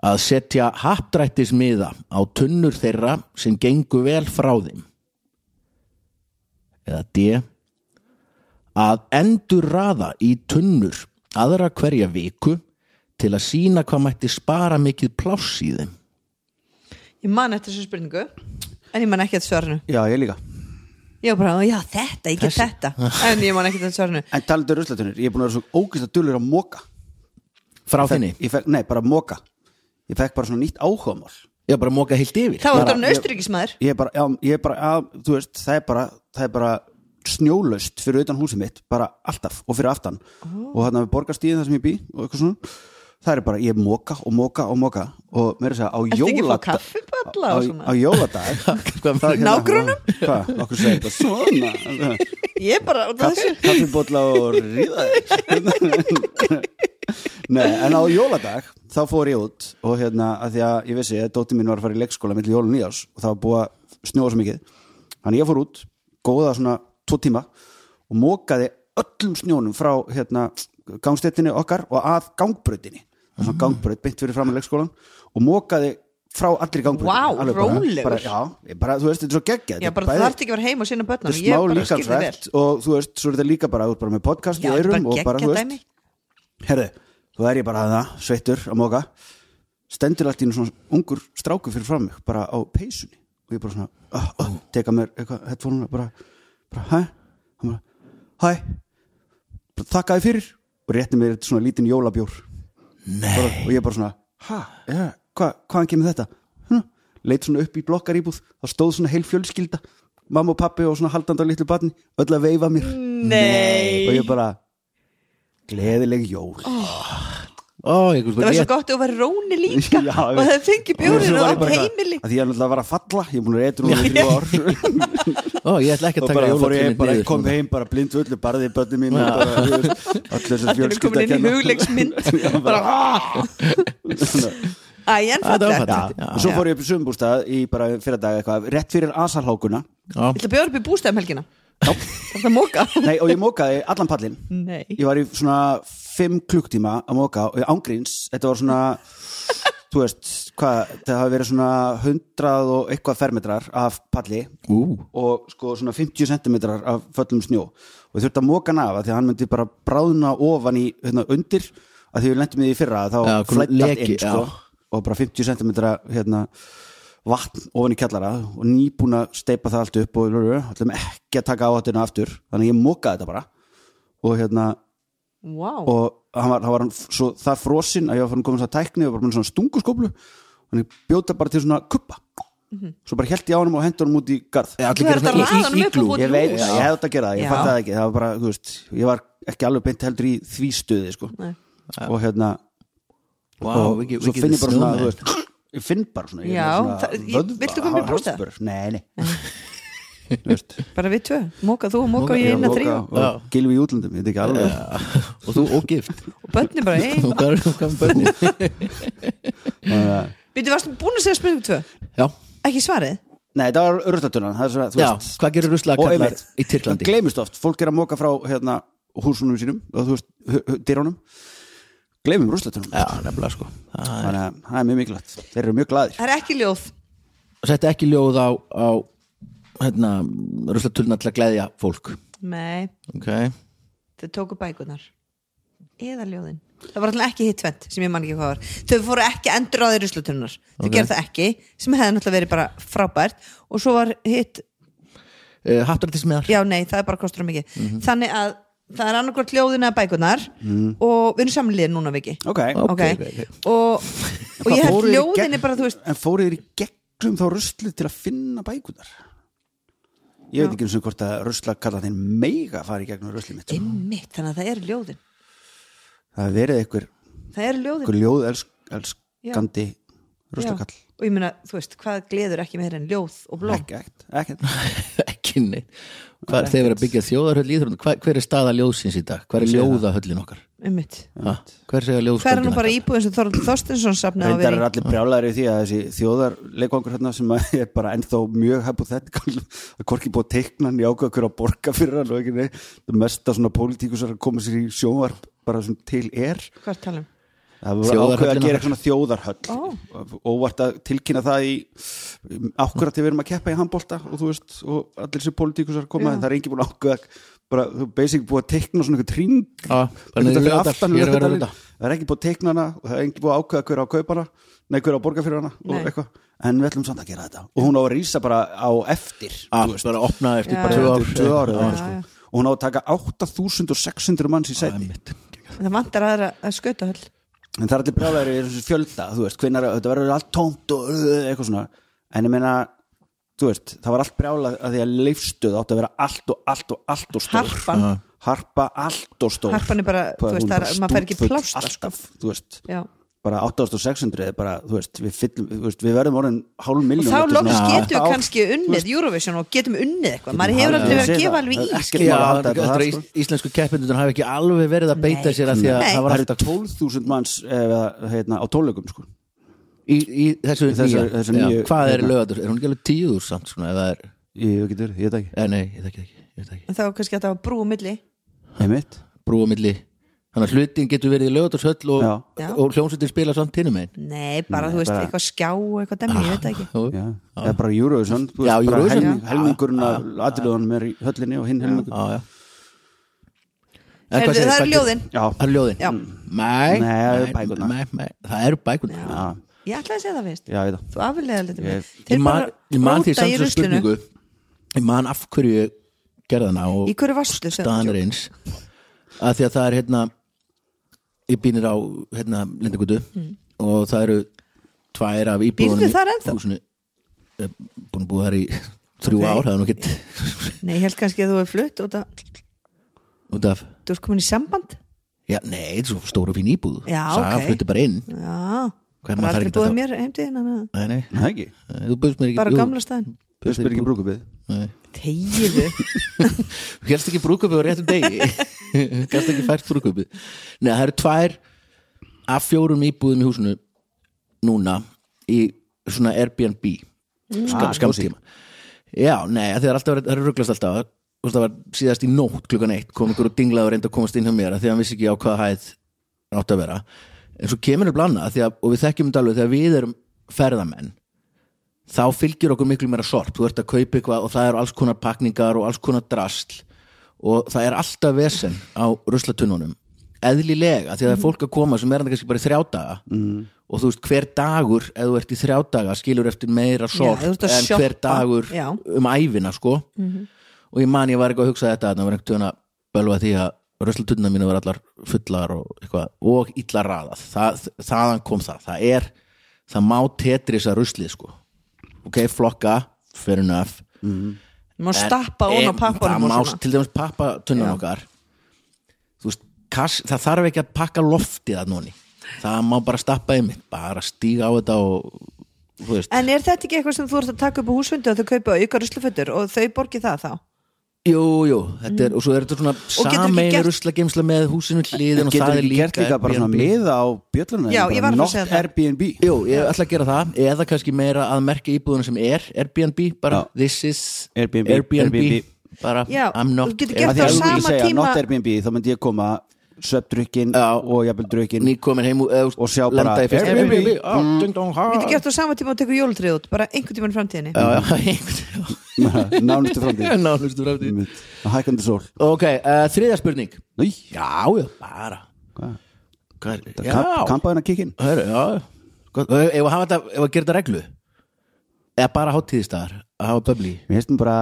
Að setja hapdrættismiða á tunnur þeirra sem gengu vel frá þeim. Eða D. Að endur raða í tunnur aðra hverja viku til að sína hvað mætti spara mikið pláss í þeim.
Ég man eftir þessu spurningu En ég man ekki eftir svarinu
Já, ég líka
Ég var bara, já þetta, ég get þetta En ég man ekki eftir svarinu
En talandi um ruslatunir, ég er búin að vera svo ógæst að dulur að móka
Frá þinni.
Ég fekk, nei, bara móka Ég fekk bara svona nýtt áhugamál
Ég var bara að móka heilt yfir.
Þá var þetta
Bara-
nösturíkismæður
Ég er bara, já, ég er bara, já, þú veist, það er bara, það er bara snjólaust fyrir utan húsið mitt, bara alltaf og fyrir aftan og þarna við borgarstíðin þar sem ég bý og eitthvað svona, það er bara, ég móka og móka og móka og mér er að segja á
Ertu ekki að fá
jóladag
kaffiballa
á,
og
á
svona
jóladag
<laughs>
Hvað
það er hérna-
Nágrönnum?
Hvað, okkur segir þetta
<laughs>
svona
Ég er
<laughs>
bara, út af þessu
kaffibólla og ríða
<laughs>
þér. Nei, en á jóladag þá fór ég út og hérna að því að ég vissi að dóttir mín var að fara í leikskóla millir jólun í ás og það var búið að snjóa svo mikið þannig ég fór út, góða svona tvo tíma og mókaði öllum snjónum frá hérna gangstettinni okkar og að gangbrautinni það
Mm.
var svona gangbraut beint fyrir fram að leikskólan og mókaði frá allri
Vá,
gangbrautinni alveg bara-
rólegur.
bara, Já, ég bara, þú veist, þetta er svo geggjað
Já,
þetta er
bara
bæði-
það þarf ekki að vera heima og sinna
þetta
börnum
er
Ég
smá
bara skil þig vel
líkansrætt og þú veist, svo er þetta líka bara, þú ert bara með podcast
Já,
í
þetta er
öðrum og
bara
bara, þú
geggja
veist,
dæmi
herðu þú er ég bara að það, sveittur, að móka stendur allt í einu svona ungur stráku fyrir fram mig, bara á peysunni og ég bara svona, uh, uh, teka mér eitthvað, headphone, bara, bara, hæ hann bara, hæ bara, þakkaði fyrir og rétti mér svona lítinn jólabjór bara, og ég bara svona, hæ, ja, hva, hvaðan kemur þetta Hm, leit svona upp í blokkaríbúð þá stóð svona heil fjölskylda mamma og pappi og svona haldandi á litlu batni öll að veifa mér og
Nei
ég bara gleðileg jól
Ó, ég,
Það var svo gott að þú var róni líka
<laughs> Já,
og það fengi bjórið
Svo var
og
ég bara
átt
eitthvað-
heimili
að því ég er náttúrulega að vera að falla ég er búin að reyta núna í þrjú ár
Ó, <laughs> ég ætla ekki
og
að taka
bara fór ég heim,
jólatrénu
bara
niður
kom
núna.
heim bara blind völdu barði í börnum mín og bara þú veist, öll þessar
Allt er komin inn
<laughs>
í hugleiksmynd bara "Ah!" Æ,
Þetta
en
var
fallegt
fallegt, já.
Ég
og svo fór ég upp í sömbústað í bara fyrir dag eitthvað rétt fyrir
<laughs>
asalhákuna
Já,
ætla að bjóra upp í bústæðum helgina Það er
<laughs>
móka
Nei, og ég mókaði allan pallin
Nei
ég var í svona 5 klukktíma að móka og ég ángríns, þetta var svona þú veist, hvað, það hafa verið svona 100 og eitthvað fermetrar af palli
Ú,
og sko svona 50 sentimetrar af föllum snjó og þurfti að móka hann af að því að hann myndi bara bráðna ofan í hérna, undir að því við lentum í því í fyrra að þá
Já, kom
flæddi allt
leki,
inn sko, og bara 50 sentimetra hérna, vatn ofan í kjallara og nýbúin að steipa það allt upp og ætlum ekki að taka áhættinu aftur þannig að ég mókaði þetta bara og hérna
wow.
og hann var, hann var hann, svo, það frosinn að ég var farin að koma þess að tækni og bara með svona stunguskóplu hann bjóta bara til svona kuppa svo bara held ég á hann og hendur hann út í garð
Já, allir
Þú
gera
verður
svona
að raða honum upp
íglú.
og búa
ég veit,
Lús.
ég hefði átt að gera það, ég
Já.
fatt það ekki það var bara, þú veist, ég var ekki alveg beint heldur í því stuði, sko
Nei.
og hérna,
Vá,
og
við- við
svo
getum
finn ég bara svona
snjómenn.
þú veist, ég finn bara svona, ég
Já,
er með
það- ég-
vöðva,
viltu koma mér í brjóstið?
hárspör. nei, nei, þú veist
bara við tvö, móka þú og móka og
ég
ég inn að
loka
hérna þrjú
Já.
og gilvi í útlöndum, ég veit ekki alveg
og þú
<laughs>
ógift
og bönni bara ein,
Þú hvað- hvað með börnin?
við varst búin að segja spurningu tvö
Já,
ekki svarið,
nei, það var örutatunna, það er svona, þú
já,
veist
hvað gerir ruslega
og
kallar
einmitt,
í Tyrklandi?
það gleymist oft, fólk er að móka frá hérna, húsunum sínum, og þú veist dyrunum, gleymum rúslatunum
Já, nefnilega sko Það
þannig að það er mjög mikilvægt, þeir eru mjög glaðir
það er ekki ljóð
Sett ekki ljóð á, á hérna, ruslatulna til að gleðja fólk
nei,
okay.
þau tóku bækunar eða ljóðin það var alltaf ekki hitt tvent sem ég man ekki hvað var þau fóru ekki endur á þeir ruslatunnar þau okay. það ekki, sem hefði náttúrulega verið bara frábært og svo var hitt
uh, Hattrættismiðar
já nei, það er bara kostur um mikið
Mhm.
þannig að það er annarkvort ljóðin eða bækunar og við erum samlið núna viki
ok,
Ok,
okay.
ok, ok.
og, og ég held
Fóruð þið í
ljóðin
gegn-
er bara þú veist
en fóruð þér í gegnum þá rusli til að finna bækunar ég veit ekki eins og hvort að rusla kalla þeir mega fara í gegnum rusli mitt sko.
einmitt, þannig að það eru ljóðin
það hefur verið einhver,
það eru ljóðin
einhver ljóð elsk, elskandi ruslakall
Já. og ég meina, þú veist, hvað gleður ekki meira en ljóð og blóm
ekki, ekkert, ekkert
<laughs> Ekki neitt Hvað er þeir verið að byggja þjóðarhöll í Íþróttum? Hva- Hver er staða ljóðsins í dag? Hver er ljóðahöllin okkar?
einmitt
Ha? Hver segja ljóðsköldin
Hver er nú bara íbúið sem Þorvaldur Þorstinsson safnaði að
reyndar er
vera í?
allir brjálæri því að þessi þjóðarleikvangur hérna sem að er bara ennþá mjög hypothetical að hvorki búið að teikna hann í ákveða hver að borga fyrir hann og ekki neitt það mesta svona pólitíkusar að koma sér í sjónvarp bara sem til er
Hvað er talum?
það var
Þjóðarhöllin
ákveða að gera
okkar.
svona þjóðarhöll óvart að tilkynna það í ákveða til við erum að keppa í handbolta og þú veist, og allir sér pólitíkusar koma en það er engin búin að ákveða bara, þú basic búið að teikna svona einhver tring
Já, bara
Einhvern
niður í
fyrir
Laugardal,
aftan
ég er að vera
Laugardalinn.
þetta.
það er ekki búið að teikna hana og það er ekki búið að ákveða hver á að kaupa hana nei, hver á að borga fyrir hana
Nei.
og eitthvað, en við ætlum samt að gera þetta og hún á að rýsa bara á eftir
Ah, bara opna eftir
Já,
bara
já.
tvö ár
eftir tvö ár eða
Já.
eitthvað, sko. og hún á að taka 8600 manns í seti
Einmitt.
Það vantar aðra að skauta höll
en það er allir bráðari í þessu fjölda þú veist, hvenar, þetta verður allt tómt og uh, eitthvað svona, en ég meina þú veist, það var allt brjálað að því að leifstuð átti að vera allt og allt og allt og stór
Harpan. Já.
harpa allt og stór
Harpan er bara, þú
Hún
veist, það er- maður fær ekki
stútfull
pláss þar, sko.
alltaf, þú veist,
Já.
bara 8600 er bara, þú veist, við, fyllum, þú veist, við verðum orðin hálf
Og
miljón
þá
eftir
loks
svona
getum
átta
við
ár.
kannski unnið Eurovision og getum unnið eitthvað Maður hefur aldrei
Ég
verið að
segi
gefa
það.
Já, það
Það er ekkert mál að halda
alveg í
þetta
er
þar, sko.
ís- íslensku keppindur hafi ekki alveg verið að beita
Nei.
sér að því að
Nei.
það var
það eru
alltaf
12.000 manns eða, heitna, á tónleikum sko.
í, í þessu,
Þessu-
nýja,
þessu
Já,
nýju-
hvað er
hérna.
lögatur, er hún ekki alveg tíður samt svona, eða er,
ég veit ekki, ég veit ekki
eða nei, ég þekki það ekki, ég veit það ekki
En þá er kannski að það var brú á milli
Einmitt.
brúa milli, þannig að hlutin getur verið í lögaturshöll og,
Já.
Já.
og hljómsveitir spila samt hinnum einn
Nei, bara, þú veist,
bara-
eitthvað skjá og eitthvað demmi, ég veit það ekki
Já, eða bara Eurovision, þú
Já,
veist, bara
Eurovision,
helming,
já.
helmingurinn af atriðunum er í höllinni og hinn helmingur
já, já. En hvað
Heyrðu,
segir-
Það
hvað
eru
gerir-
ljóðin
Já,
það eru ljóðin
Já.
Nei,
Nei, það eru
nei,
bækurnar.
nei, nei, það eru bækurnar
já,
Ég ætlaði að segja það fyrst
já, ég veit það
Þú aflega
Ég-
þetta með
ég
Þeir
man, ég
bara
man því
róta
samt
í
sem
ruslinu
spurningu ég man af hverju ég gerði hana og
Í hverju varstu? sem-
staðan er eins að því að það er hérna ég býnir á hérna Lindagutu og það eru tvær af íbúðunum
Býrðu þar ennþá?
húsinu, eh, búin að búa þar í þrjú ár, það er nú ekki
Nei, ég held kannski að þú er flutt og það,
út af,
þú ert komin í samband
já nei, þetta er svo stóru fín íbúð
Já,
Saga
ok.
flutti bara inn
Já,
Hvað, maður
bara
þarf
aldrei
ekki
búið
þá-
mér heimtíðin
nei, nei,
Það ekki,
nei, þú búðst mér ekki
Bara
jú,
gamla staðin
þau spyrir ekki brúkupið
nei.
Tegiðu
Þú gerst ekki brúðkaupið á réttum degi <laughs> Þú gerst ekki fært brúðkaupið Nei, það eru tvær af fjórum íbúðum í húsinu núna í svona Airbnb ska,
Ah,
skamstíma Já, nei, af því það er alltaf verið- það er rugglast alltaf Þú veist, það var síðast í nótt klukkan eitt kom ykkur og dinglaði og reyndi að komast inn hjá mér af því að hann vissi ekki á hvaða hæð hann átti að vera en svo kemur upp annað því að, og við þekkjum þetta alveg þegar við erum ferðamenn þá fylgir okkur miklu meira sorp þú ert að kaupa eitthvað og það eru alls konar pakningar og alls konar drasl og það er alltaf vesen á ruslatunnunum eðlilega því að það er fólk að koma sem er hann kannski bara í þrjá daga mm. og þú veist hver dagur ef þú ert í þrjá daga skilur eftir meira sorp
þú ert að
en hver
shoppa.
dagur
Já. Mhm.
um ævina sko og ég man ég var eitthvað að hugsa þetta þannig var einhvern tíðan að bölva því að röslatunna mínu var allar fullar og, eitthvað, og illa raðað það, þaðan kom það, það er það má tetrisa ruslið sko ok, flokka, fair enough
má stappa
En
ofan á pappanum
það
og
má
svona
til dæmis pappatunnan okkar þú veist, kass, það þarf ekki að pakka loftið að núni það má bara stappa einmitt, bara stíga á þetta og þú veist
En er þetta ekki eitthvað sem þú ert að taka upp á húsfundi og þau kaupa auka ruslufötur og þau borgi það þá?
Jú, jú, þetta
Mm.
er, og svo er þetta svona
getur ekki
sameinu
gert-
ruslageimsla með húsinu hliðin og
getur
það er
ekki
líka
gert líka bara svona
Airbnb.
miða á bjöllunum
Já,
bara
ég var að fara að
not
segja það.
Airbnb
Jú, ég ætla að gera það, eða kannski meira að merka íbúðuna sem er Airbnb, bara
Já.
this is
Airbnb, Airbnb.
bara
Já,
I'm not
þú getur
Af því að
gert það á
þú myndi
sama
segja
tíma-
not Airbnb þá myndi ég koma söpdrukkin
Já.
og jafnveldrukkin
nýkomin heim úr- eða,
Og sjá bara
lenda í fyrst
Airbnb. Mm.
Airbnb, á, ding dong, ha.
Getur gert það á sama tíma og tekur jólutrið út bara einhvern tímann í framtíðinni
Já, já, <laughs> einhvern
<laughs> nánustu framtíð Mm.
veginn Nánustu frá því
Einmitt. hækandi sól
Ok, uh, þriðja spurning
Í,
Já, já, bara
hvað?
Hvað er, já,
Kamp- kampaðin að kikkin
Hörru, já Gott, og Ef ef að hafa þetta, ef að gera þetta reglu Eða bara hátíðistæðar að hafa böbli
Mér hefstum bara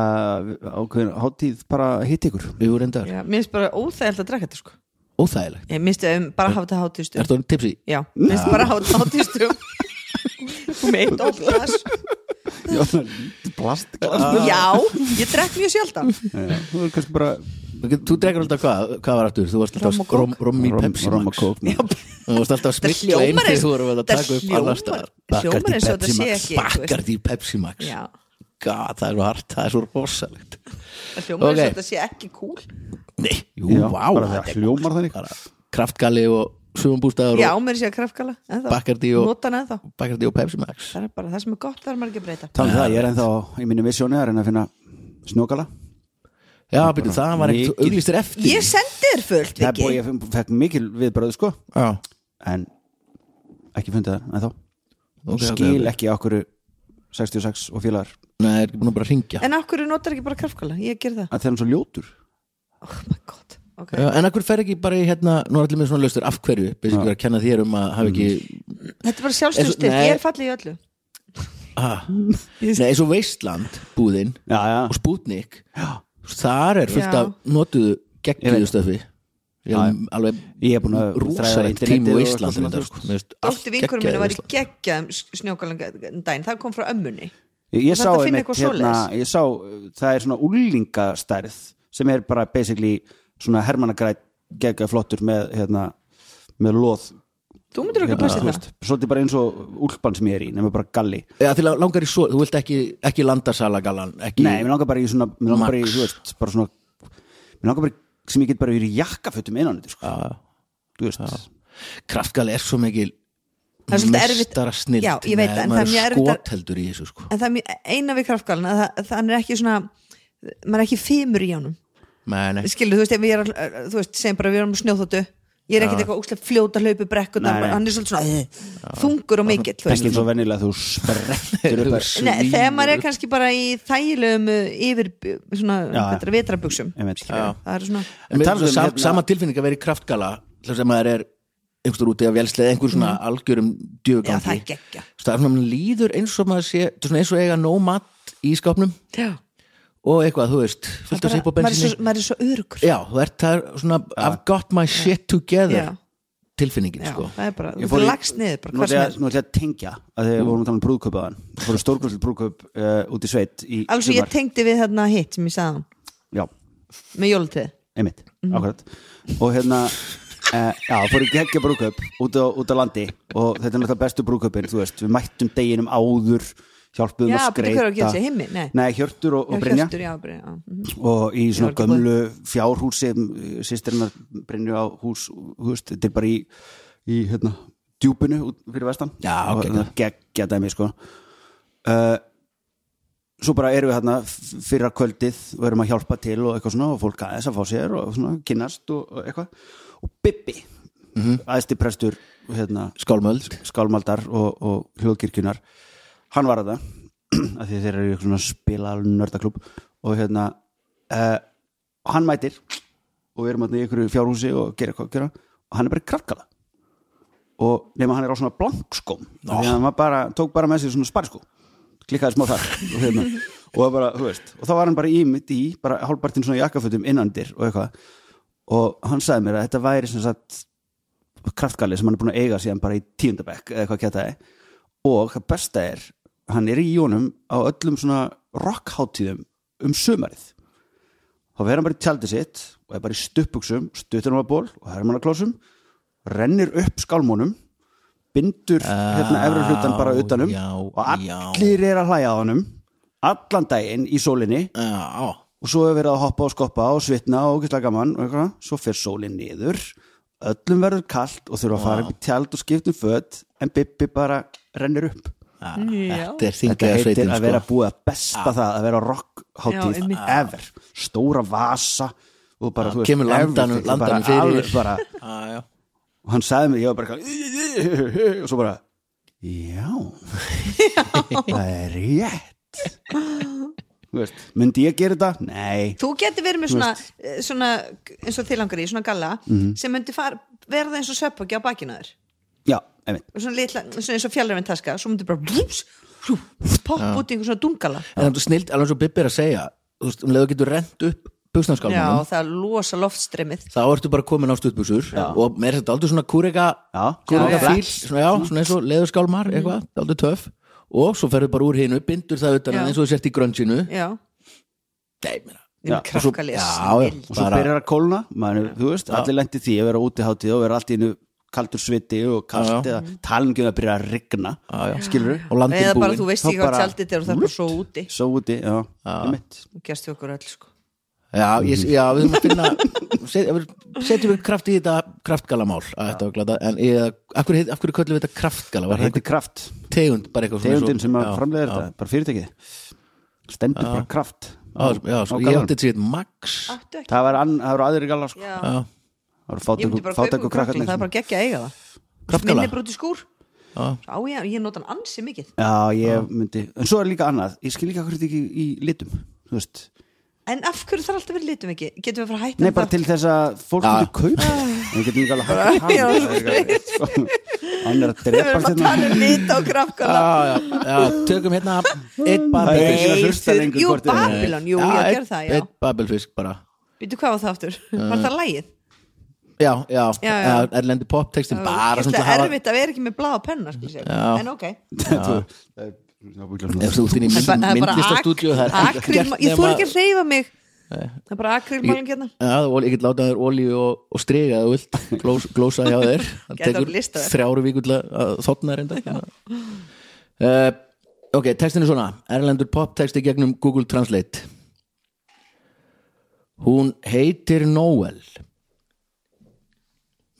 ákveðin hátíð bara hitt ykkur
Við vorum reyndar,
Já, Mér finnst bara óþægilegt að drekka þetta sko
óþægilegt
Ég minnst um bara að hafa þetta hátíðstum
Ertu orðin tipsi?
Já, mér finnst bara að hafa þetta hátíðstum Meitt óglas
Plast
Ah,
Já, ég drekk mjög sjaldan
Þú er kannski bara
Þú dregur alltaf hvað, hvað var aftur? Þú varst
Rom og
alltaf
kók.
rom, rom í
Rom-
Pepsi
rom og
Max.
kók, maður.
Já. Þú varst alltaf að smikla
hljómar
inn þegar
eins-
þú vorum að
þetta
taka upp annars
hljómar-
staðar
þetta hljómar
Bakkart í
eins og þetta
Pepsi
sé
Max.
ekki, þú veist.
Bakkart í Pepsi Max
Já,
God, það er svo hart, það er svo rosalegt
það hljómar
Ok.
okay. þetta sé ekki cool
Nei, jú,
Já,
vá
bara
þetta
það
er
hljómar þannig.
bara Kraftgali og sumanbústæður
Já,
og
mér sé að krafkala
Bakkardí og-
Notan eða þá
Bakkart í og Pepsi Max
Það er bara það sem er gott, það er maður ekki að breyta
Þannig um það, ég er ennþá í mínu visjónu að reyna að finna snókala
Já, byrju, það var ekkert
mikil-
auglýstir eftir
Ég sendi þér fullt,
Það er
Viki
búið, ég fekk mikil viðbröðu sko
Já,
En ekki fundið það ennþá
ok, ok,
Skil
ok.
ekki okkur 66 og félagar
Nei, er ekki búin að bara ringja
En af hverju notar ekki bara krafkala? Ég ger það
að þeir eru svo ljótur
Oh my god, ok
Eh,
En akkur fer ekki bara í hérna Nú er allir með svona laustur, af hverju? Byrju, að kenna þér um að hafa ekki
Mm.
Þetta er bara sjálfstyrstyrk,
Nei.
ég er fallið í öllu
<laughs>
ah. Nei, eins og Veistland búðin
Já, já,
og Sputnik Þar er fullt
Já.
af notuðu
Ég
geggjöðu stöfi Ég er Alveg
ég er búin að þræða
rosalegt
internetið
tíma í
og eitthvað
Ísland
svona,
reyndar,
þú
sko.
veist.
Mér finnst allt
Dóttir vinkurum minna
geggjað í
var í
Ísland.
geggjum snjókalangadaginn Það kom frá ömmunni
Ég, ég
Þú
sá
þarft að finna
einmitt
eitthvað
hérna,
svoleiðis.
ég sá, uh, það er svona úlingastærð sem er bara basically svona hermannagrætt gegga flottur með hérna, með loð hérna,
Þú myndir okkur passa
þú
það
veist, svolítið bara eins og úlpan sem ég er í nema bara galli
Já, til að langar í svo, þú vilt ekki, ekki landarsalagallan ekki,
Nei, mér langar bara í svona, mér langar bara í,
Max.
þú veist, bara svona mér langar bara í, sem ég get bara verið í jakkafutum innan þetta, sko,
Já.
þú veist
kraftgal er svo mikil
Það er svolítið erfitt-
mestara snild
Já, ég veit það, en það er mjög erfitt að-
skoteldur í þessu sko
En það er mjög- eina við krafkalana það, það er ekki svona maður er ekki fimur í ánum
Nei, nei.
Skilur, þú veist, ef ég er að- þú veist, segjum bara við erum snjóþóttu Ég er ekkert eitthvað óslega fljóta hlaupi brekkunar
Nei, nei.
Hann er svolítið svona eh, þungur og mikill þú veist.
ekki eins og venjulega þú
<laughs>
sprettur upp þar
Nei, Þegar maður er kannski bara í þægilegum uh, yfir uh, svona,
Já,
hvað þetta er, vetrabuxum
Ég veit.
Skilur, Það er svona
en
talandi
það
um
er sam,
hérna-
sama tilfinning að vera í kraftgala þess að maður er einhverstur úti af velslega einhver svona algjörum
Mm. Já, það er
djöfugangi
geggja
það er svona maður líður eins og maður sé þetta er svona eins og eiga nóg mat í skápnum og eitthvað, þú veist, fullt að
Bara-
sépa á
maður er
bensinni
svo- maður er svo örugur
já, þú ert það er svona I've got my shit together
Já.
tilfinningin,
Já,
sko
það er bara,
Ég
þú
fór í-
lagst niður bara
Nú
hvað
ætla
sem
ég
er
að- nú ætla ég að tengja að þegar við vorum að tala um brúðkaupaðan fórum stórgröldið brúðkaup uh, út í sveit í
Alveg svo ég
sumar.
tengdi við þarna hitt sem ég sagði hann
Já,
með jólutrið
einmitt,
Mhm.
akkurat og hérna, uh, já, fórum í geggja brúðkaup út á, út á landi og þetta er náttúrulega bestu brúðkaupin, þú veist við mættum deginum áður, hjálpuðum
Já,
að
betur hver á að gera sig,
skreita
himmi, nei
Nei, Hjörtur og, og Brynja
Hjörtur, já, Brynja já, mhm.
og Sko, í svona
Ég var ekki
gömlu fjárhúsi sýstirinnar Brynju á hús þú veist, þetta er bara í, í hérna, djúpinu út fyrir vestan
Já,
og
geggjað.
það geggja dæmi sko. uh, svo bara erum við hérna fyrra kvöldið og erum að hjálpa til og eitthvað svona og fólk
Mhm.
aðeins að fá sér og svona kynnast og, og eitthvað og Bibbi, mm -hmm. aðsti prestur hérna,
skálmöld
skálmaldar og, og hljóðkirkjunar hann var að það <clears throat> af því þeir eru í eitthvað svona spila nördaklub og hérna uh, hann mætir og við erum að í einhverju fjárhúsi og gera hvað gera og hann er bara í kraftkala og nema hann er á svona blankskóm af því að hann var bara, tók bara með sér svona spariskó klikkaði smá þar og, hérna, og, það bara, þú veist, og þá var hann bara í mitt í bara hálfpartinn svona jakkafötum innandir og eitthvað og hann sagði mér að þetta væri sem sagt kraftgalli sem hann er búin að eiga síðan bara í tíundabekk eða hvað kjátaði og það besta er, hann er í jónum á öllum svona rockháttíðum um sumarið þá verður hann bara í tjaldi sitt og er bara í stuppuksum, stuttunumaból og hermannaklósum, rennir upp skálmónum bindur hérna efri hlutan bara utanum
já,
og
já.
allir er að hlæja á honum allan daginn í sólinni
já,
og svo er verið að hoppa og skoppa og svitna og gæslega gaman og eitthvað, svo fer sólin niður öllum verður kalt og þurfa að fara upp í tjald og skiptum föt en Bibbi bara rennir upp
já,
Já.
Ah, þetta er
þetta
þinglega
heitir
sveitin
að vera
sko.
búið að besta það að vera
Já,
rockháttíð
einmitt.
ever, stóra vasa og bara, þú veist,
kemur landanum-
everything, bara
landanum fyrir.
alveg bara,
Já, já.
og hann sagði mér, ég var bara eitthvað, <laughs> og svo bara
<laughs>
já það er rétt Þú veist, myndi ég gera þetta? Nei
Þú getur verið með svona, eh, svona eins og þið langar í, svona galla
Mhm.
sem myndi far, verða eins og söpbóki á bakinu á þér
Já, einmitt
og svona litla, svona eins og fjallarinn taska svo myndi bara blúps, blú, popp út í einhver svona dungala
en það er snilt, alveg svo Bibbi er að segja þú veist, um leðu getur rent upp
Já,
buksnarskálmanum
það losa loftstreymið
þá ertu bara komin á stuttbuksur og er þetta aldrei svona kúrega
Já.
kúrega
Já, Mm.
fíl, svona, já, svona eins og leðurskálmar eitthvað, aldrei töff og svo ferðu bara úr hinu, bindur það utan
Já.
að eins og þú sért í grönsinu
Já,
Nei, meina.
ég
Já,
með krakkalið
já, já,
og svo
bara,
byrjar að kólna maður, þú veist, allir lendi því að vera úti hátíð og vera allt í einu kaldur sviti og
Já,
kalt
já.
eða talingjum að byrja að rigna
Já, já.
skilur
og landin
eða bara þú
búin
veist ekki
Þá
hvað
bara-
tjaldið er og það er bara svo úti
svo úti, já, einmitt
og gerst við okkur öll sko
já, ég, já, við þurfum að finna <laughs> set, við- setjum við kraft í þetta kraftgalamál að þetta var glata en ég, af, hverju, heit- af hverju köllum við þetta kraftgala var
bara
þetta
heiti kraft,
tegund bara eitthvað svona
tegundin
svo-
sem að
já,
framlega þetta, bara fyrirtækið stendur bara kraft
já, já, sko, ég átti þetta sér max
Áttu ekki
það var, ann, það var aðri gala sko.
Já,
já,
það var
ég myndi
fátæku,
bara kaupa
fátæku
okkur krakkalið
krakkarnir
það er bara geggja að eiga það
Kraftgala?
minni brúti skúr Já, já, ég nota hann ansi mikið
já, ég myndi, en svo er líka annað ég skil líka hverju þetta ekki í litum þú veist,
En af hverju þarf alltaf verið litum ekki? Getum við að fara að hætta
nei
um
bara
það?
til þess að fólk
Já.
getur kaupa en getur líka alveg hægt að
Já,
tala um þetta, sko. hann er að
<laughs> Við erum
drepast
að
hérna
tala um lit á krakkala
já, já, já, tökum
<laughs>
hérna eitt
Nei,
babelfisk
að hlusta
Eitur,
lengur
jú,
hvort er-
Babylon, jú,
Já,
ég
einn-
ger það, já
einn babelfisk bara
Býtu, hvað var það aftur? Var það lægið?
já, já,
Já, já.
já, erlendi poptextin bara svona til að
Það er
hafa
erfitt að vera ekki með blá og penna sko, sé.
Já.
En ok
Það
ef þú ert inn í
Það er bara- það er bara
myndlistastúdíu það er
ak-
ekkert gert
akrílma- Ég þór
nema-
ekki að reyfa mig Það er bara akrilmálinn hérna
Já, þú ég get látað þér olíu og, og striga þú vilt, glós, glósa hjá þér það
<laughs> Gæti
tekur
orðið listaverk.
þrjáru vikur til að- að þotna reynda uh, Ok, textin er svona Erlendur poptexti gegnum Google Translate Hún heitir Noel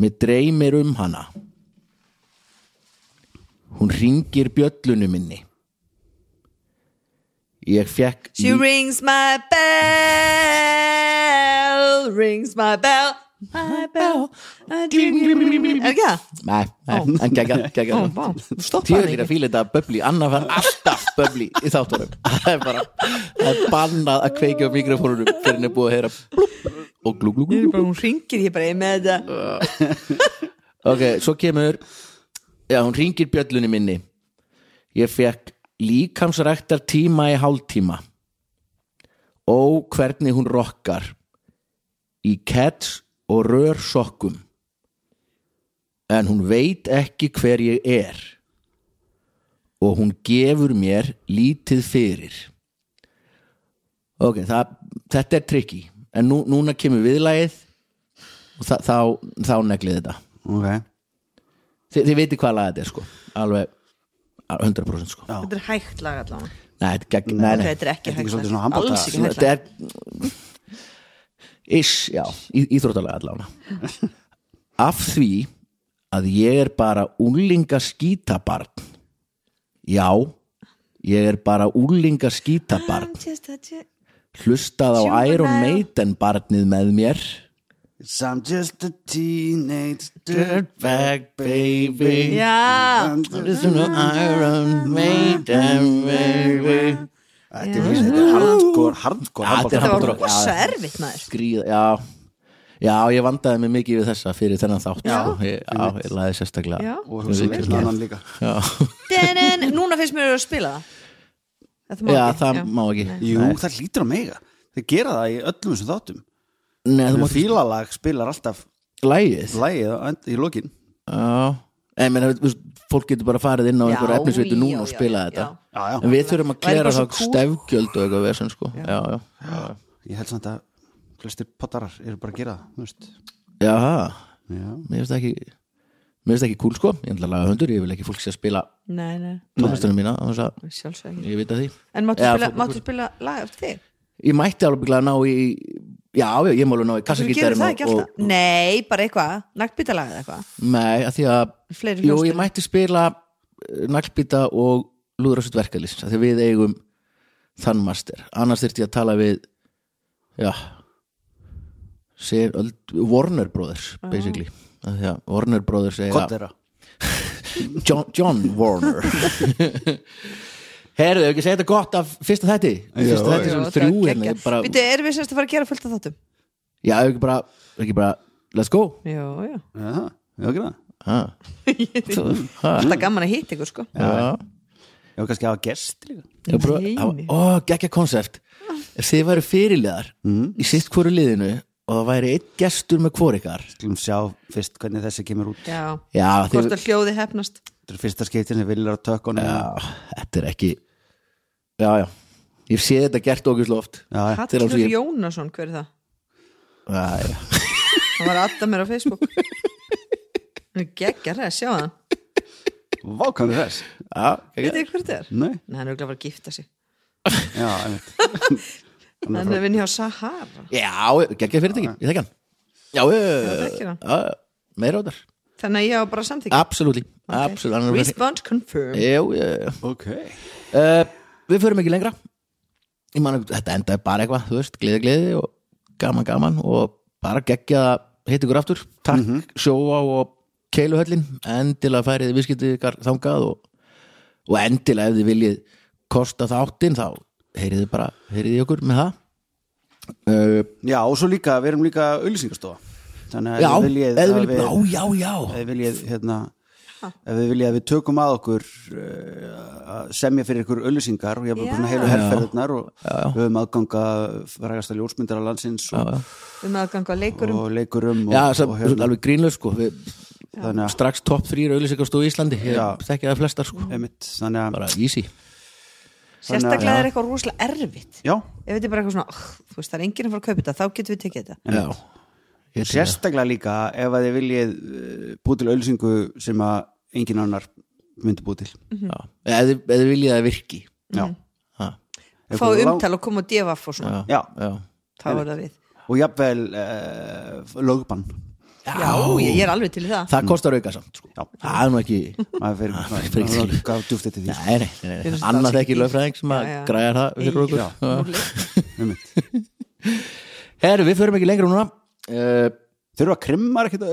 Mér dreymir um hana Hún ringir bjöllunum minni Ég fekk
She rings my bell Rings my bell My bell Er ekki það?
Nei, nei, en gegga, gegga
Ó, vá, þú stoppaði
Tjóðir að
ekki
fíla þetta að böbli Anna fann alltaf böbli í þáttunum <laughs> Það er bara það er bannað að kveikja á mikrofónunum fyrir henni er búið að heyra blúpp og glú glú glú
Ég er
glú.
bara, Hún ringir, ég er bara ég er með þetta
Ok, svo kemur Já, hún ringir bjöllunni minni Ég fekk líkamsræktar tíma í hálftíma Ó, hvernig hún rokkar Í kets og rör sokkum En hún veit ekki hver ég er Og hún gefur mér lítið fyrir Ok, það, þetta er tricky En nú, núna kemur viðlagið Og það, þá, þá neglið þetta
Ok,
Þi, þið veitir hvað laga þetta er sko Alveg al- 100% sko
Já.
Þetta er hægt lag allavega
Nei, þetta er gegn, nei,
Ok,
nei
Þetta er ekki
Þetta er ekki
hægt
svolítið svona
lag
handbolta-
Alls ekki
Svona,
hægt lag
Þetta er Ish, já, í, íþróttalega allavega Af því að ég er bara úlinga skítabarn Já Ég er bara úlinga skítabarn
I'm just a-
Hlustað á
Juvenile.
Iron Maiden barnið með mér
Cause I'm just a teenage dirtbag baby
Já.
Listen to Iron Maiden baby.
Þetta er- þetta er hardcore, hardcore
Já, þetta er
handbolta.
Það var
Hamborg-
rosa
já.
erfitt maður
Gríð, já Já, ég vandaði mig mikið við þessa fyrir þennan þátt
Já.
sko. ég, já, ég laði sérstaklega
Já.
Og hugsaði ekki annan líka
Já,
Denen, Núna finnst mér að spila það Það má
já
ekki,
það
já.
má ekki
Jú, það hlýtur að mega Þeir gera það í öllum þessum þáttum
Nei, þú mátt
Fílalag spilar alltaf
lægið
lægið á end- í lokin
Já, en menn, þú veist, fólk getur bara farið inn á
Já,
einhverja efnisveitu
já,
núna og
já,
spila
já.
þetta
Já, já.
En við þurfum að
Væri
klera
bara
þá
svo kúl.
stefgjöld og eitthvað versen sko. já. Já, já.
Ég held samt að flestir pottarar eru bara að gera það þú veist.
Jaha,
Já.
mér finnst það ekki Mér finnst það ekki kúl sko, ég ætla að laga hundur Ég vil ekki fólk sé að spila
Nei, nei,
tónlistunum mína án þess að
sjálfsög ekki
Ég veit að því
En máttu
Já,
spila,
fótbolta-
máttu spila lag eftir þig?
Ég mætti alveg að ná í Já, já, ég má alveg ná í
Þú gerir
kassagítarum
það ekki alltaf? Nei, bara eitthvað, naglbítalag eða eitthvað
Nei, að því að
Fleiri
Jú,
hljómsveitir.
ég mætti spila eh, naglbíta og lúðrásut verkalýs af því að við eigum þann master annars þyrfti ég að tala við já segir, öld- Warner Brothers
Ah.
basically, af því að Warner Brothers eiga-
Hvað þeirra?
John, John Warner Herðu, hefur ekki segið þetta gott af fyrsta þætti fyrsta þætti sem þrjú hérna ég bara,
Býtu, erum við semst að fara að gera fullt af þáttum?
já, hefur ekki bara, ekki bara let's go
Jó, já,
Já, það, já, ekki það
ha.
<laughs>
ha.
alltaf gaman að hitta ykkur sko
Já.
Já, kannski hafa gest líka
Ég bara-
Nei,
það var-
nei.
Ó, geggja konsept Ef þið væri fyrirliðar í sitt hverju liðinu og það væri einn gestur með hvor ykkar
Skulum sjá fyrst hvernig þessi kemur út
Já,
Já,
hvort
þið,
að hljóði hefnast
Þetta er fyrsta skiptin sem vilja að tökka honum
já þetta er ekki Já, já Ég sé þetta gert ógislega oft
já, já.
Þegar
Hallur
ég-
Jónasson, hver er það?
Já, já.
Það var alltaf mér á
<laughs>
Facebook Hann er Geggar, það, sjá hann
Vákvæmur þess
Já,
Veit
geggja.
þið hvert það er?
Nei,
Nei, hann er auðvitað að fara að gifta sig
já, einmitt
Hann er vinni á Sahara
Uh, já geggja fyrirtæki, ég þekki hann Já, já,
þekkir
já,
hann.
já meira á þar
Þannig að ég á bara samþykja
Absolutely, absolutely hann er Eh. verið-
Response confirmed
Já, já, já
Ok
uh, Við förum ekki lengra Ég man, Þetta endaði bara eitthvað, þú veist, gleði, gleði og gaman, gaman og bara geggja að hitt ykkur aftur Takk,
Mhm.
sjóa og keiluhöllin endilega færið viðskiptið ykkar þangað og, og endilega ef þið viljið kosta þáttinn þá heyriði bara, heyriði okkur með það uh,
Já, og svo líka, við erum líka auðlýsingastofa Þannig að
Já,
ef þið viljið
eða
að
viljið,
við-
já, já, já
ef þið viljið, hérna ef við viljið að við tökum að okkur uh, að semja fyrir ykkur auðlýsingar og ég er bara
Já.
búin að heilu herrferðirnar og við höfum aðganga frægasta ljósmyndara landsins og,
Um aðgang á leikurum
og leikurum og,
Já, sem,
og hérna.
alveg grínlega sko við,
þannig að,
strax topp þrýr auðlýsingarstofu í Íslandi ég
Já.
þekki það flestar sko,
einmitt, þannig að
bara easy
Sérstaklega er eitthvað rosalega erfitt
já,
Ef þetta er bara eitthvað svona, "Ugh, þú veist, það er enginn að fara að kaupa þetta Þá getum við tekið þetta
Já, ég til það.
sérstaklega líka ef að þið viljið uh, búið til auðlýsingu sem að engin annar myndi búið til
Mhm.
Mhm. Já. Eða þið- eða þið viljið að það virki
já,
ha.
Ef
Fá
þú lá-
umtal og koma og devaf og svona
já,
Já,
Þá er það við
og jafnvel uh, lögbann
Já, ég, ég er alveg til í það
það kostar auka samt sko.
Já.
Það er nú ekki
maður fyrir, maður
fyrir
fyrir,
til.
maður gaf djúft eftir
<laughs>
því
Nei, nei, nei,
Fyrir
nei.
það
annað
sé
ekki
dýrt.
lögfræðing sem að
Já, já.
græjar það fyrir okkur
Já.
Já.
einmitt.
Herru, við förum ekki lengra núna uh,
þurfa að krimma ekkert að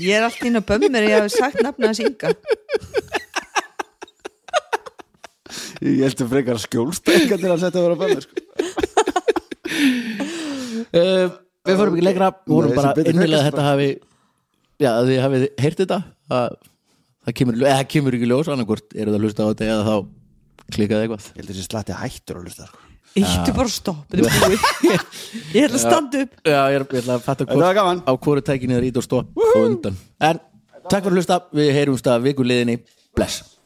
<laughs>
Ég er allt inn á bömmir Ég hef sagt nafna hans Inga
ég held að frekar skjólstækja til að setja að vera bannir sko.
uh, Við förum ekki lengra vorum
Nei,
bara
sem betur fer
innilega að
kannski
þetta hafi Já, að þið hafið heyrt þetta að, það, kemur, eða, það kemur ekki ljós annarkvort eru það að hlusta á þetta eða þá klikkaði eitthvað
ég held að þessi slatti hættur að hlusta sko.
Íttu bara stopp Þetta er búið Ég ætla að standa upp
Já, ég, er, ég ætla að fatta
Þetta var gaman.
á hvoru tækinu er ít og stopp og undan En takk fyrir að hlusta, við heyrumst að viku liðinni Bless